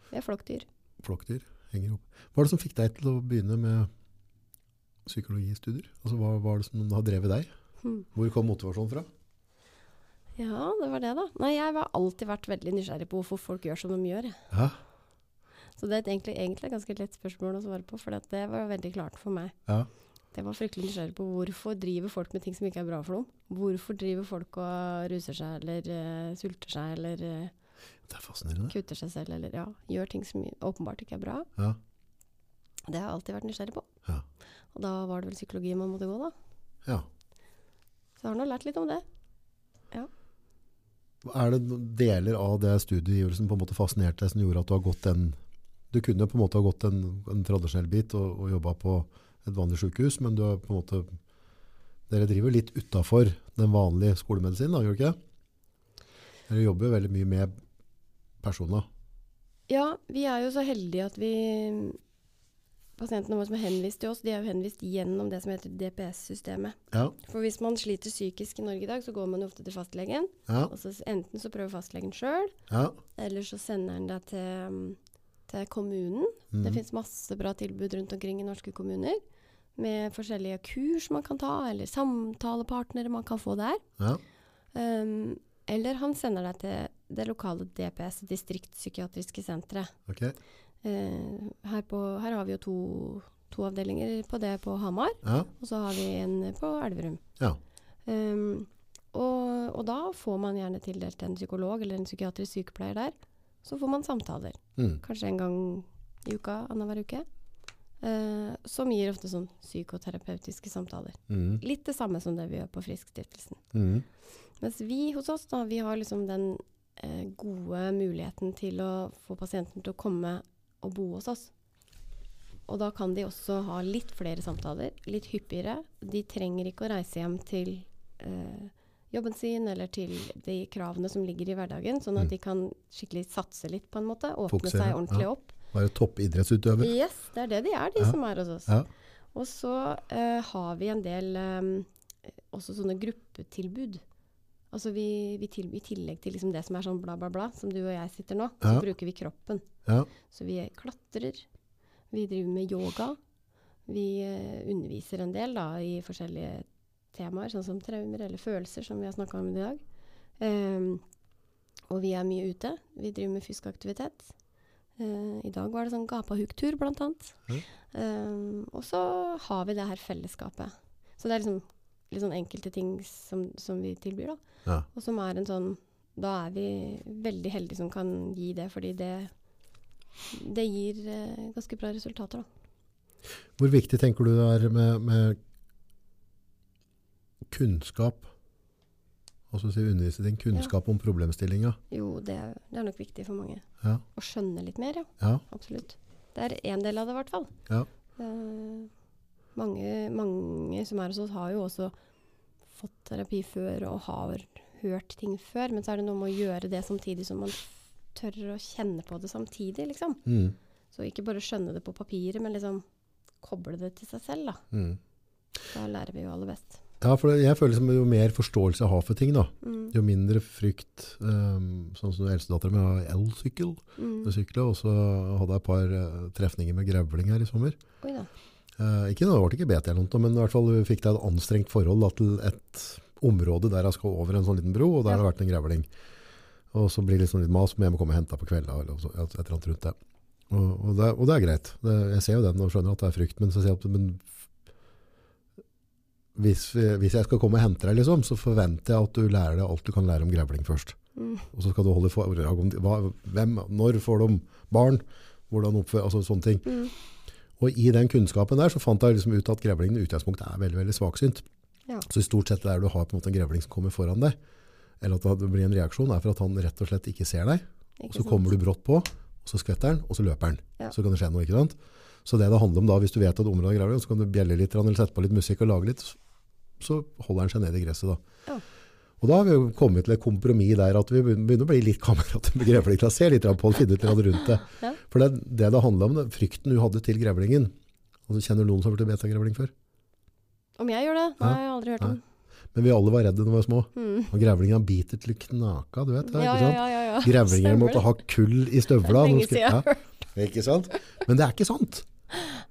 Vi er flokkdyr.
Flokkdyr henger opp. Hva er det som fikk deg til å begynne med psykologistudier? Altså, hva, hva er det som har drevet deg?
Hmm.
Hvor kom motivasjonen fra?
Ja, det var det, da. Nei, jeg har alltid vært veldig nysgjerrig på hvorfor folk gjør som de gjør. jeg.
Ja,
Så det er et egentlig, egentlig et ganske lett spørsmål å svare på, for at det var veldig klart for meg.
ja,
Jeg var fryktelig nysgjerrig på hvorfor driver folk med ting som ikke er bra for dem. Hvorfor driver folk og ruser seg eller eh, sulter seg eller eh,
det er fascinerende.
kutter seg selv eller ja, gjør ting som åpenbart ikke er bra.
Ja,
Det har jeg alltid vært nysgjerrig på.
ja,
Og da var det vel psykologi man måtte gå, da.
ja.
Så jeg har nå lært litt om det.
Er det noen deler av det studiet som på en måte fascinerte deg, som gjorde at du har gått en... Du kunne på en måte ha gått en, en tradisjonell bit og, og jobbet på et vanlig sykehus, men du har på en måte... Dere driver litt utenfor den vanlige skolemedisinen, da, gjør du ikke det? Dere jobber jo veldig mye med personer.
Ja, vi er jo så heldige at vi Pasientene våre som er henvist til oss, de er jo henvist gjennom det som heter DPS-systemet.
Ja,
For hvis man sliter psykisk i Norge i dag, så går man jo ofte til fastlegen.
ja,
Og så s- enten så prøver fastlegen sjøl,
ja.
eller så sender han deg til, mm, til kommunen. Det
Mhm.
fins masse bra tilbud rundt omkring i norske kommuner. Med forskjellige kurs man kan ta, eller samtalepartnere man kan få der.
Ja,
Um, eller han sender deg til det lokale DPS, distriktspsykiatriske senteret.
ok.
Eh, her, på, her har vi jo to, to avdelinger på det på Hamar,
Ja,
og så har vi en på Elverum.
ja,
Um, og, og da får man gjerne tildelt en psykolog eller en psykiatrisk sykepleier der. Så får man samtaler,
mm.
kanskje en gang i uka, annenhver uke. eh, som gir ofte sånn psykoterapeutiske samtaler.
Mm.
Litt det samme som det vi gjør på Friskstiftelsen.
Mm.
Mens vi hos oss, da, vi har liksom den eh, gode muligheten til å få pasienten til å komme og bo hos oss. Og da kan de også ha litt flere samtaler, litt hyppigere. De trenger ikke å reise hjem til eh, jobben sin eller til de kravene som ligger i hverdagen, sånn at
Mm.
de kan skikkelig satse litt, på en måte. Åpne
Fokusere,
seg ordentlig
ja.
opp.
Være toppidrettsutøver.
Yes, det er det de er, de
Ja.
som er hos oss.
Ja.
Og så eh, har vi en del eh, også sånne gruppetilbud. Altså vi, vi til, I tillegg til liksom det som er sånn bla, bla, bla, som du og jeg sitter nå, så
Ja.
bruker vi kroppen.
Ja.
Så vi klatrer, vi driver med yoga, vi eh, underviser en del da, i forskjellige temaer, sånn som traumer eller følelser, som vi har snakka om i dag. Ehm, og vi er mye ute. Vi driver med fysisk aktivitet. Eh, I dag var det sånn gapahuk-tur, blant annet.
Mhm.
Ehm, og så har vi det her fellesskapet. Så det er liksom, litt sånn enkelte ting som, som vi tilbyr, da.
Ja.
Og som er en sånn Da er vi veldig heldige som kan gi det, fordi det, det gir eh, ganske bra resultater, da.
Hvor viktig tenker du det er med, med kunnskap? Altså si undervise din kunnskap om problemstillinga.
Jo, det, er- det er nok viktig for mange.
Ja.
Å skjønne litt mer, ja.
Ja.
Absolutt. Det er én del av det, i hvert fall.
Ja.
Eh, mange, mange som er hos oss, har jo også fått terapi før og har hørt ting før, men så er det noe med å gjøre det samtidig som man tør å kjenne på det samtidig, liksom.
Mm.
Så ikke bare skjønne det på papiret, men liksom koble det til seg selv, da.
Mm.
Da lærer vi jo aller best.
ja, for jeg føler som jo mer forståelse jeg har for ting, da,
Mm,
jo mindre frykt um, Sånn som eldstedattera mi har elsykkel,
mm.
sykle, og så hadde jeg et par eh, trefninger med grevling her i sommer.
Oi da.
Eh, ikke noe, det ble ikke BT eller noe, men i hvert fall fikk jeg et anstrengt forhold da, til et område der jeg skal over en sånn liten bro, og der
Ja.
har det vært en grevling. Og så blir det liksom litt mas, men jeg må komme og hente deg på kvelden, eller så, et et eller annet rundt det. Og, og, det, og det er greit. Det, jeg ser jo den og skjønner at det er frykt, men så sier jeg at men, hvis, hvis jeg skal komme og hente deg, liksom, så forventer jeg at du lærer deg alt du kan lære om grevling først.
Mm.
Og så skal du holde foredrag om hva, hvem, når får de barn, hvordan oppfører, altså sånne ting.
Mm.
Og i den kunnskapen der så fant jeg liksom ut at grevlingen i utgangspunktet er veldig, veldig svaksynt.
Ja.
Så i stort sett der du har på en måte en grevling som kommer foran deg, eller at det blir en reaksjon, er for at han rett og slett ikke ser deg, og
Ikke
så
sant?
kommer du brått på, og så skvetter han, og så løper han.
Ja.
Så kan det skje noe, ikke sant? Så det det handler om da, hvis du vet at området er grevling, så kan du bjelle litt, eller sette på litt musikk og lage litt, så holder han seg ned i gresset da.
Ja.
Og da har vi jo kommet til et kompromiss der at vi begynner å bli litt kamerater med grevlingen, og se litt på og finne ut litt rundt det.
Ja.
For det, det det handler om, det, frykten du hadde til grevlingen, og så kjenner du noen som har blitt betagrevling før.
Om jeg gjør det? Nei,
Ja.
jeg har aldri hørt om.
Men vi alle var redde når vi var små.
Mm.
Og grevlingene biter til knaka, du vet det,
Ja,
ikke
ja,
sant?
ja, ja, ja.
Grevlinger
Stemmer
måtte
det.
ha kull i
Det er
støvla.
lenge
de skulle-
siden jeg har hørt.
ja, ikke sant? Men det er ikke sant.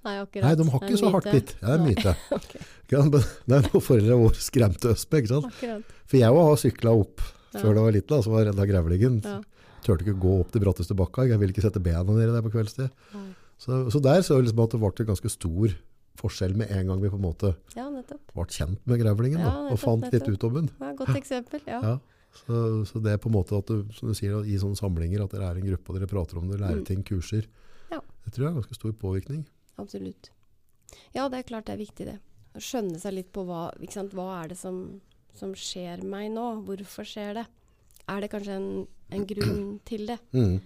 Nei, akkurat.
Nei, de har
Det er
ikke så
en
hardt
myte.
bitt. Ja, Det er en
Nei,
myte.
ok,
Ikke sant? Men Det er noe foreldre våre skremte oss med, ikke sant?
akkurat.
For jeg også har sykla opp
Ja.
før det var liten, da, så var jeg redd av grevlingen.
Ja.
Tørte ikke gå opp de bratteste bakka. Jeg ville ikke sette bena nedi der på kveldstid.
Nei.
Så, så der så jeg liksom at det ble en ganske stor forskjell med en gang vi på en måte
Ja, nettopp.
ble kjent med grevlingen da,
Ja,
og
nettopp,
fant litt
nettopp.
ut om den.
Ja, godt eksempel. Ja.
Ja. Så, så det er på en måte at du, som du sier, i sånne samlinger at dere er en gruppe og dere prater om det, lærer
Mm.
ting, kurser.
Ja.
Det tror jeg er en ganske stor påvirkning.
Absolutt. Ja, det er klart det er viktig, det. Å skjønne seg litt på hva, ikke sant? hva er det som, som skjer meg nå? Hvorfor skjer det? Er det kanskje en, en grunn til det?
Mm.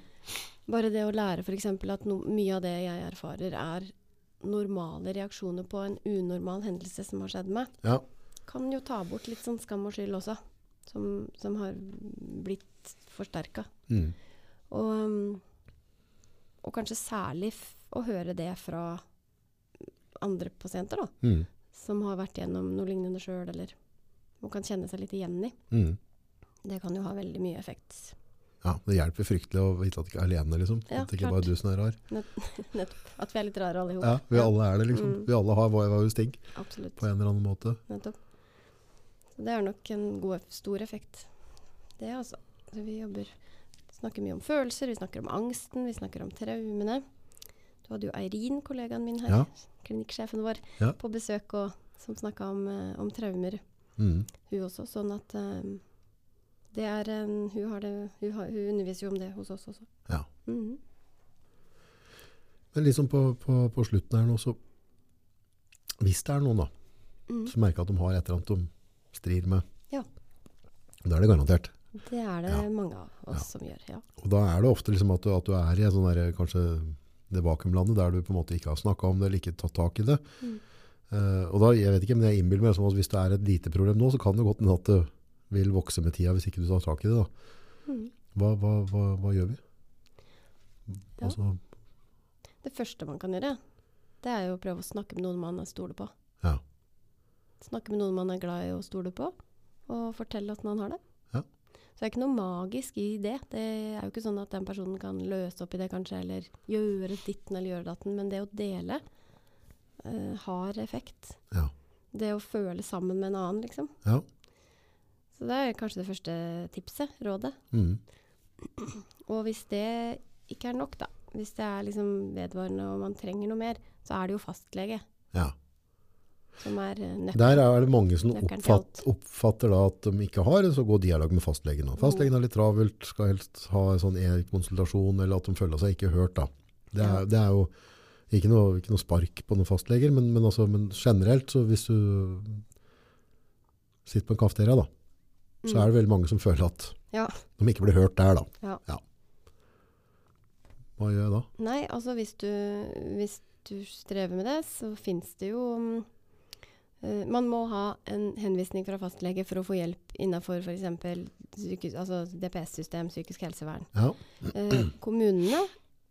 Bare det å lære f.eks. at no, mye av det jeg erfarer, er normale reaksjoner på en unormal hendelse som har skjedd meg,
Ja.
kan jo ta bort litt sånn skam og skyld også, som, som har blitt forsterka.
Mm.
Og, um, og kanskje særlig f å høre det fra andre pasienter, da,
Mm.
som har vært gjennom noe lignende sjøl, eller man kan kjenne seg litt igjen i.
Mm.
Det kan jo ha veldig mye effekt.
ja. Det hjelper fryktelig å vite at du ikke er alene, liksom.
Ja,
at det ikke
klart.
bare er du som er rar.
Nettopp. At vi er litt rare alle i hop.
Ja, vi alle er det, liksom.
Mm.
Vi alle har hver vår sting
Absolutt.
på en eller annen måte.
Nettopp. Så det er nok en god, eff- stor effekt, det altså. Så vi jobber, snakker mye om følelser, vi snakker om angsten, vi snakker om traumene. Du hadde jo Eirin, kollegaen min her,
Ja.
klinikksjefen vår,
Ja.
på besøk og, som snakka om, eh, om traumer,
Mm.
hun også. Sånn at eh, det er en, hun, har det, hun, har, hun underviser jo om det hos oss også.
Ja.
Mhm.
Men liksom på, på, på slutten her nå, så hvis det er noen da,
Mm.
som merker at de har et eller annet de strir med,
Ja.
da er det garantert.
Det er det
Ja.
mange av oss
Ja.
som gjør, ja.
Og da er det ofte liksom at, du, at du er i en sånn der, kanskje det vakuumlandet der du på en måte ikke har snakket om det eller ikke tatt tak i det.
Mm.
Eh, og da, jeg vet ikke, men jeg innbiller meg som at hvis det er et lite problem nå, så kan det godt hende at det vil vokse med tida hvis ikke du tar tak i det. Da.
Mhm.
Hva, hva, hva, hva gjør vi?
Ja.
Altså,
Det første man kan gjøre, det er jo å prøve å snakke med noen man stoler på.
Ja.
Snakke med noen man er glad i og stoler på, og fortelle åssen man har det.
Ja.
Så det er ikke noe magisk i det. Det er jo ikke sånn at den personen kan løse opp i det, kanskje, eller gjøre ditten eller gjøre datten, men det å dele eh, har effekt.
ja.
Det å føle sammen med en annen, liksom.
Ja.
Så det er kanskje det første tipset, rådet.
Mm.
Og hvis det ikke er nok, da, hvis det er liksom vedvarende og man trenger noe mer, så er det jo fastlege
ja.
som er eh, nøkkelen.
Der er det mange som
Nøkkelen til
oppfatt, oppfatter da at de ikke har, så går dialog med fastlegen. da. Fastlegen er litt travelt, skal helst ha en sånn e-konsultasjon, eller at de føler seg ikke hørt. da. Det er,
Ja.
det er jo ikke noe, ikke noe spark på noen fastleger, men, men, altså, men generelt, så hvis du sitter på en kafeteria, da, så
Mm.
er det veldig mange som føler at
Ja.
de ikke blir hørt der. da.
Ja.
Hva gjør jeg da?
Nei, altså hvis du, hvis du strever med det, så fins det jo mm, eh, Man må ha en henvisning fra fastlege for å få hjelp innafor f.eks. Altså DPS-system, psykisk helsevern.
Ja,
Eh, kommunene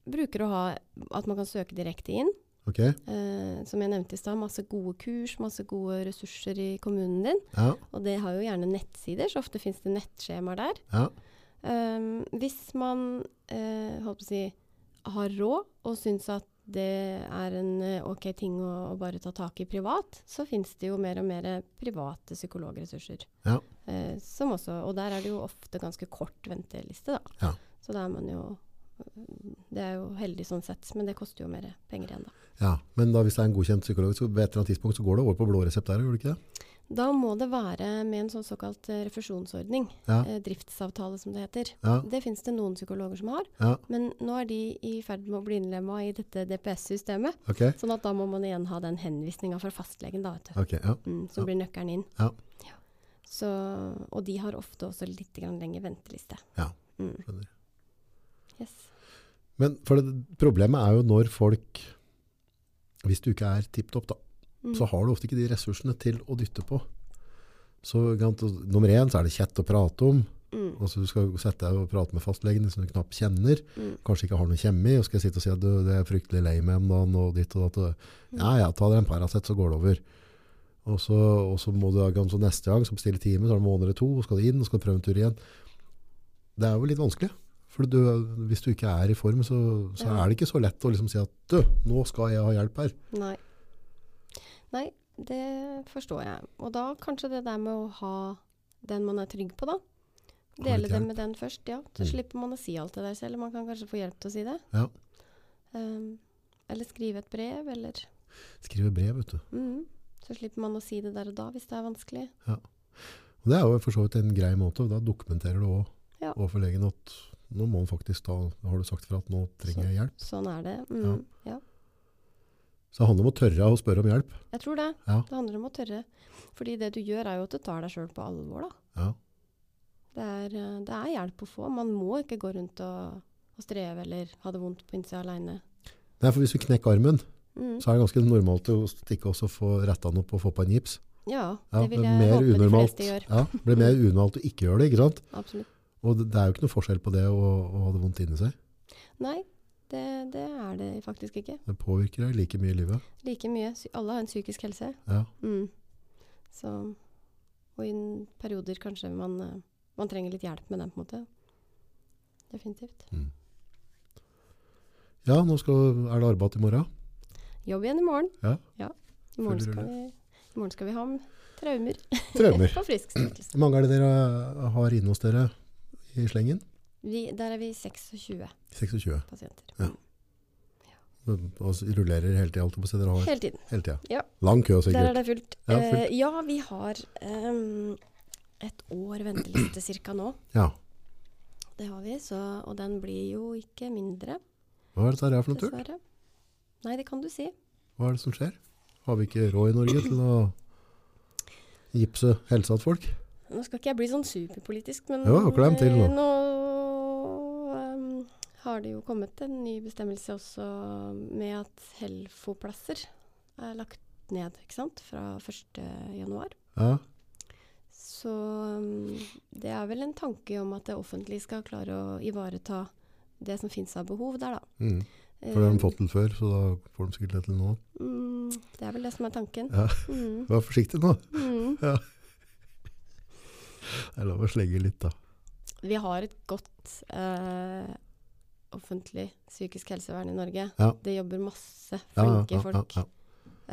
bruker å ha at man kan søke direkte inn.
ok.
Eh, som jeg nevnte i stad, masse gode kurs, masse gode ressurser i kommunen din.
Ja,
Og det har jo gjerne nettsider, så ofte finnes det nettskjemaer der.
ja,
Ehm, hvis man eh, holdt på å si, har råd og syns at det er en eh, ok ting å, å bare ta tak i privat, så finnes det jo mer og mer private psykologressurser.
Ja.
Eh, som også, og der er det jo ofte ganske kort venteliste, da.
Ja.
Så da er man jo eh, Det er jo heldig sånn sett, men det koster jo mer penger igjen, da.
ja. Men da, hvis det er en godkjent psykolog, så ved et eller annet tidspunkt så går det over på blå resept der, gjør det ikke det?
Da må det være med en sånn såkalt eh, refusjonsordning,
Ja,
eh, driftsavtale som det heter.
ja,
Det finnes det noen psykologer som har,
ja,
men nå er de i ferd med å bli innlemma i dette DPS-systemet.
ok.
Sånn at da må man igjen ha den henvisninga fra fastlegen, da, vet du.
Ok, ja.
Mm, som
Ja.
blir nøkkelen inn.
Ja.
Ja. Så, og de har ofte også litt grann lengre venteliste.
Ja,
Mm.
skjønner.
Yes.
Men for det, problemet er jo når folk, hvis du ikke er tippet opp da,
Mm.
så har du ofte ikke de ressursene til å dytte på. Så ikke sant, og nummer én så er det kjett å prate om.
Mm.
Altså du skal sette deg og prate med fastlegen som du knapt kjenner.
Mm.
Kanskje ikke har noe kjemi, og skal jeg sitte og si at
Mm.
du, det er fryktelig lei meg om dagen og ditt og datt. og- Ja, ja, ta deg en Paracet, så går det over. Og så, og så må du da kanskje neste gang som bestiller time, så er det en måned eller to, og skal du inn, og skal du prøve en tur igjen. Det er jo litt vanskelig. For du, hvis du ikke er i form, så, så
Ja.
er det ikke så lett å liksom si at du, nå skal jeg ha hjelp her.
Nei. Nei, det forstår jeg. Og da kanskje det der med å ha den man er trygg på, da.
Ha
Dele
litt
det
hjelp.
med den først, ja. Så
Mm.
slipper man å si alt det der selv. Man kan kanskje få hjelp til å si det.
Ja.
Um, eller skrive et brev, eller
Skrive brev, vet du.
Mhm. Så slipper man å si det der og da hvis det er vanskelig.
Og det er jo for så vidt en grei måte, og da dokumenterer du òg
Ja.
overfor legen at nå må han faktisk ta, nå har du sagt fra at nå trenger jeg hjelp.
Sånn er det. Mhm, ja.
Så det handler om å tørre å spørre om hjelp.
Jeg tror det.
Ja.
Det handler om å tørre. Fordi det du gjør, er jo at du tar deg sjøl på alvor, da.
Ja.
Det er, eh, det er hjelp å få. Man må ikke gå rundt og, og streve eller ha det vondt på innsida aleine.
Nei, for hvis du knekker armen,
Mm.
så er det ganske normalt å stikke også få retta den opp og få på en gips.
Ja,
Ja,
det vil
er
jeg
mer
håpe de
unormalt.
fleste gjør.
Ja, det blir mer unormalt å ikke gjøre det, ikke sant?
Absolutt.
Og det, det er jo ikke noe forskjell på det å, å ha det vondt inni seg.
Nei, det, det er det faktisk ikke.
Det påvirker deg like mye i livet.
Like mye. Sy- Alle har en psykisk helse.
Ja.
Mm. Så, og i n- perioder kanskje man, eh, man trenger litt hjelp med den, på en måte. Definitivt.
Ja, nå skal, er det arbeid i morgen.
Jobb igjen i morgen.
Ja.
I morgen
Full
skal vi, i morgen skal vi ha om traumer
Traumer.
på friskstillelse.
Hvor mange er det dere har inne hos dere i slengen?
Vi, der er vi 26
26.
pasienter.
Ja. Og rullerer hele tida, alt på stedet dere har
Hele tiden.
hele tida.
Ja.
Lang kø,
Der
sikkert.
er det fullt.
Ja, fullt.
Eh, ja vi har ehm, et år venteliste cirka nå.
Ja.
Det har vi, så, og den blir jo ikke mindre,
Hva er dette her for noe tull?
dessverre. Nei, det kan du si.
Hva er det som skjer? Har vi ikke råd i Norge til å gipse helsa til folk?
Nå skal ikke jeg bli sånn superpolitisk, men
Jo, klem til nå.
eh, nå, ehm, har det jo kommet en ny bestemmelse også med at Helfo-plasser er lagt ned, ikke sant, fra 1. januar.
Ja.
Så um, det er vel en tanke om at det offentlige skal klare å ivareta det som finnes av behov der, da.
Mm. For det har
Um,
de fått til før, så da får de sikkert det til nå.
mm, det er vel det som er tanken.
Ja.
Mm,
Vær forsiktig nå.
mm.
Det er lov å slegge litt, da.
Vi har et godt eh, offentlig psykisk helsevern i Norge.
Ja.
Det jobber
Ja,
masse
ja,
flinke
ja, ja,
folk,
ja.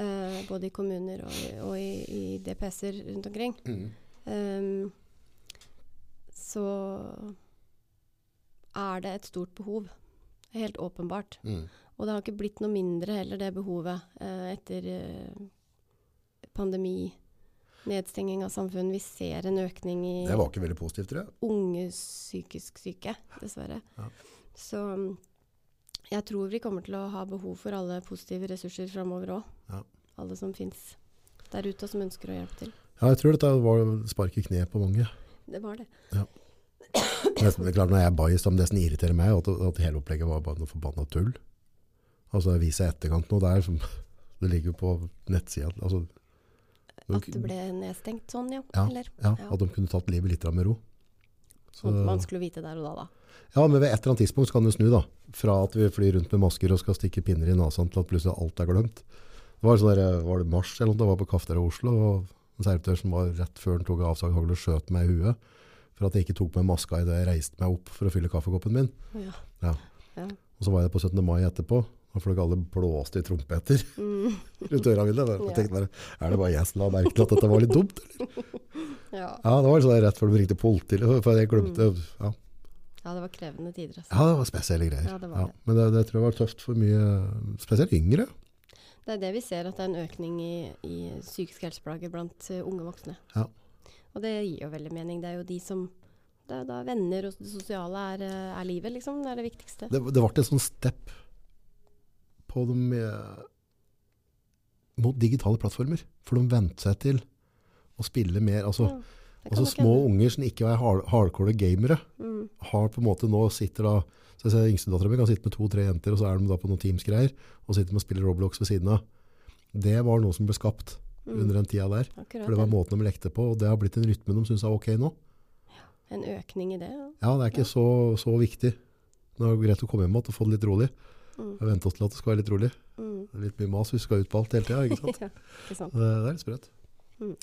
eh, både i kommuner og, i- og i, i DPS-er rundt omkring.
Mm.
Um, så er det et stort behov. Helt åpenbart.
Mm.
Og det har ikke blitt noe mindre heller, det behovet, eh, etter eh, pandemi, nedstenging av samfunn. Vi ser en økning i
Det var ikke veldig positivt, tror jeg.
unge psykisk syke, dessverre.
Ja.
Så mm, jeg tror vi kommer til å ha behov for alle positive ressurser framover òg.
Ja.
Alle som fins der ute, og som ønsker å hjelpe til.
Ja, jeg tror dette var spark i kneet på mange.
Det var det.
Nesten, det er klart, når jeg er biased, men det som irriterer meg, er at, at hele opplegget var bare noe forbanna tull. Altså, jeg viser etterkant nå, det, er, som- det ligger jo på nettsida. Altså,
At det ble nedstengt sånn, ja.
Ja.
Eller
ja,
ja.
at de kunne tatt livet litt med ro. Så,
sånn at man skulle vite der og da, da.
ja, men ved et eller annet tidspunkt så kan du snu da. Fra at vi flyr rundt med masker og skal stikke pinner i nasen til at plutselig alt er glemt. Det var, sånn der, var det mars eller noe, det var på Kafter i Oslo, og en servitør som var rett før han tok avsag og skjøt meg i huet for at jeg ikke tok meg maska i det jeg reiste meg opp for å fylle kaffekoppen min.
Ja.
Ja.
Ja.
Og så var jeg på 17. mai etterpå, og fløy alle blåste i trompeter
Mm.
rundt øra mine. Og
Ja.
tenkte bare, er det bare jeg som la merke til at dette var litt dumt?
ja.
Ja, det var sånn der rett før de ringte politiet, liksom, for jeg
Mm.
glemte, ja.
ja, det var krevende tider. Altså.
ja, det var spesielle greier.
Ja, det var det.
Men det, det tror jeg var tøft for mye, spesielt yngre.
Det er det vi ser, at det er en økning i, i psykiske helseplager blant eh, unge voksne.
Ja.
Og det gir jo veldig mening. Det er jo de som det er jo da venner og det sosiale er, eh, er livet, liksom. Det er det viktigste.
Det, det ble en sånn step på de, eh, mot digitale plattformer, for de vente seg til å spille mer. Altså,
Ja, det kan
altså
nok
små
hende.
unger som ikke er hard, hardcore gamere,
Mm.
har på en måte nå sitter da, så jeg ser yngste datteren min kan sitte med to-tre jenter, og så er de da på noen Teams-greier, og sitter med og spiller Roblox ved siden av. Det var noe som ble skapt under den tida der,
Mm, Akkurat.
for Mm. det var
det.
måten de lekte på, og det har blitt en rytme de synes er ok nå.
En økning i det. ja.
Ja, det er ikke så, så viktig. Nå er det greit å komme hjem igjen og få det litt rolig.
Mm.
Jeg venter oss til at det skal være litt rolig.
Mm.
Det er Litt mye mas, vi skal ut på alt hele tida.
ja, ikke sant.
Det det er litt sprøtt.
Mm.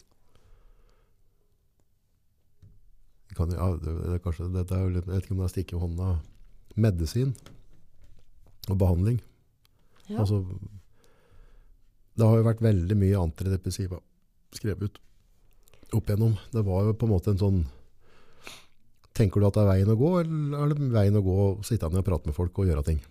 Vi Kan, jo- ja, det, det, er kanskje, dette er jo litt, jeg vet ikke om det er stikke i hånda. Medisin og behandling.
Ja.
Altså, det har jo vært veldig mye antidepressiva skrevet ut opp igjennom. Det var jo på en måte en sånn Tenker du at det er veien å gå, eller er det veien å gå og sitte ned og prate med folk og gjøre ting?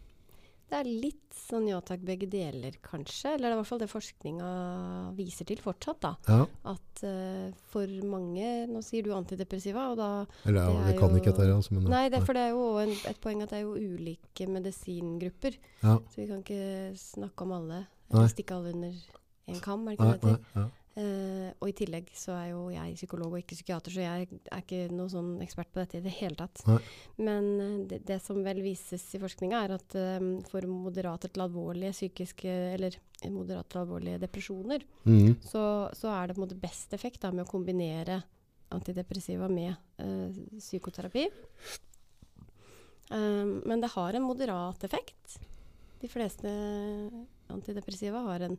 Det er litt sånn ja takk, begge deler, kanskje. Eller det er i hvert fall det forskninga viser til fortsatt, da.
Ja,
At eh, for mange Nå sier du antidepressiva, og da
eller ja,
Det er
vi kan
jo-
ikke dette her, altså. Men,
Nei, det, for det er jo også en, et poeng at det er jo ulike medisingrupper.
Ja.
Så vi kan ikke snakke om alle.
Nei.
Eller stikke alle under en kam, er det ikke det det heter?
ja.
Eh, og i tillegg så er jo jeg psykolog og ikke psykiater, så jeg er ikke noen sånn ekspert på dette i det hele tatt.
Nei.
Men eh, det, det som vel vises i forskninga, er at eh, for moderate til alvorlige psykiske Eller eh, moderate til alvorlige depresjoner,
Mhm.
så, så er det på en måte best effekt da, med å kombinere antidepressiva med eh, psykoterapi. Um, men det har en moderat effekt. De fleste antidepressiva har en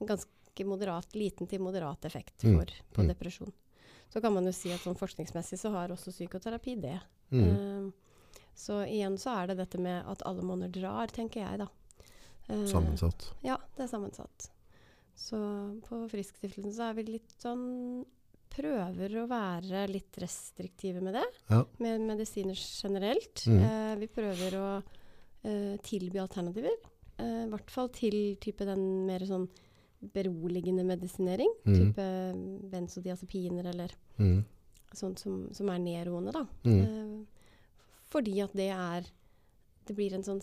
ganske moderat, liten til moderat effekt
Mm,
for, på
mm.
depresjon. Så kan man jo si at sånn forskningsmessig så har også psykoterapi det.
Mhm.
Um, så igjen så er det dette med at alle måneder drar, tenker jeg da. Eh,
Sammensatt.
ja, det er sammensatt. Så på Friskstiftelsen så er vi litt sånn Prøver å være litt restriktive med det.
Ja.
Med medisiner generelt.
Mhm.
Eh, vi prøver å eh, tilby alternativer. Eh, I hvert fall til type den mer sånn beroligende medisinering.
Mhm.
Type benzodiazepiner eller
Mhm.
sånt som, som er nedroende, da.
Mhm.
Eh, fordi at det er Det blir en sånn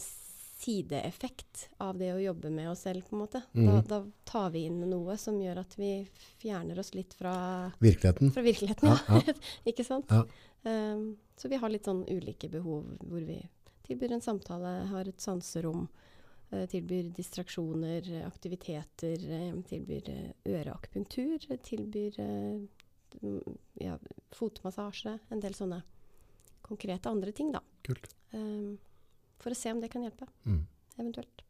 sideeffekt av det å jobbe med oss selv, på en måte. Da,
Mhm.
da tar vi inn noe som gjør at vi fjerner oss litt fra,
Virkeligheten.
fra virkeligheten, ja.
Ja,
Ikke sant?
Ja.
Um, så vi har litt sånn ulike behov, hvor vi tilbyr en samtale, har et sanserom, eh, tilbyr distraksjoner, eh, aktiviteter, eh, tilbyr eh, øreakupunktur, eh, tilbyr eh, m- ja, fotmassasje, en del sånne konkrete andre ting, da.
Kult.
Um, for å se om det kan hjelpe,
Mhm.
eventuelt.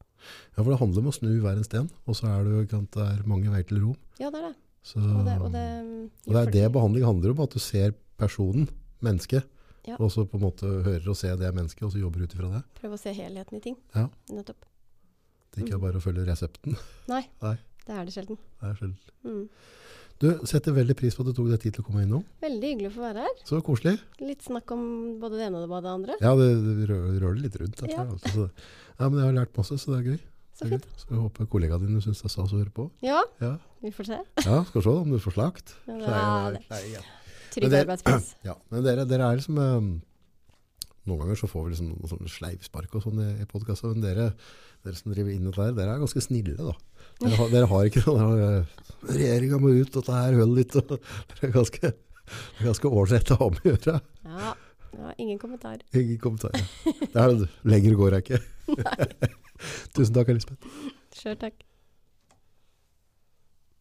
Ja, for det handler om å snu hver en sten, og så er det jo ikke sant, det er mange veier til rom.
Ja, det er det.
Så,
Og det, og det, um,
Ah. og det
gjør
er det
folk-
behandling handler om, at du ser personen, mennesket,
Ja.
og så på en måte hører og ser det mennesket, og så jobber ut ifra det.
Prøve å se helheten i ting.
Ja.
Nettopp.
Det er
Mm.
ikke bare å følge resepten.
Det er det sjelden.
Det er selv-
Mm.
Du setter veldig pris på at du tok deg tid til å komme innom.
Veldig hyggelig å få være her.
Så koselig.
Litt snakk om både det ene og det andre.
Ja, det det rører rører litt rundt. Dette,
Ja.
altså, så, ja, men jeg har lært masse, så det er gøy.
Så
Det er gøy.
fint.
Så jeg håper kollegaene dine syns det er stas å høre på.
Ja,
Mm. Ja,
vi får se.
ja skal vi se om du får slakt.
Ja,
Så er
det-
jeg- Nei, ja. Men
Trygg
det-
arbeidsplass.
Ja, men dere, dere er liksom eh, Noen ganger så får vi liksom noen sånne sleivspark og sånn i, i podkasten, men dere, dere som driver inn dette her, dere er ganske snille, da. Dere har, dere har ikke noe Regjeringa må ut, dette her hølet ditt og Dere er ganske dere er ganske ålreite å ha med å gjøre.
Ja. ja, ingen kommentar.
Ingen kommentarer. Det er, lenger går jeg ikke. Tusen takk, Elisabeth.
Sjøl takk.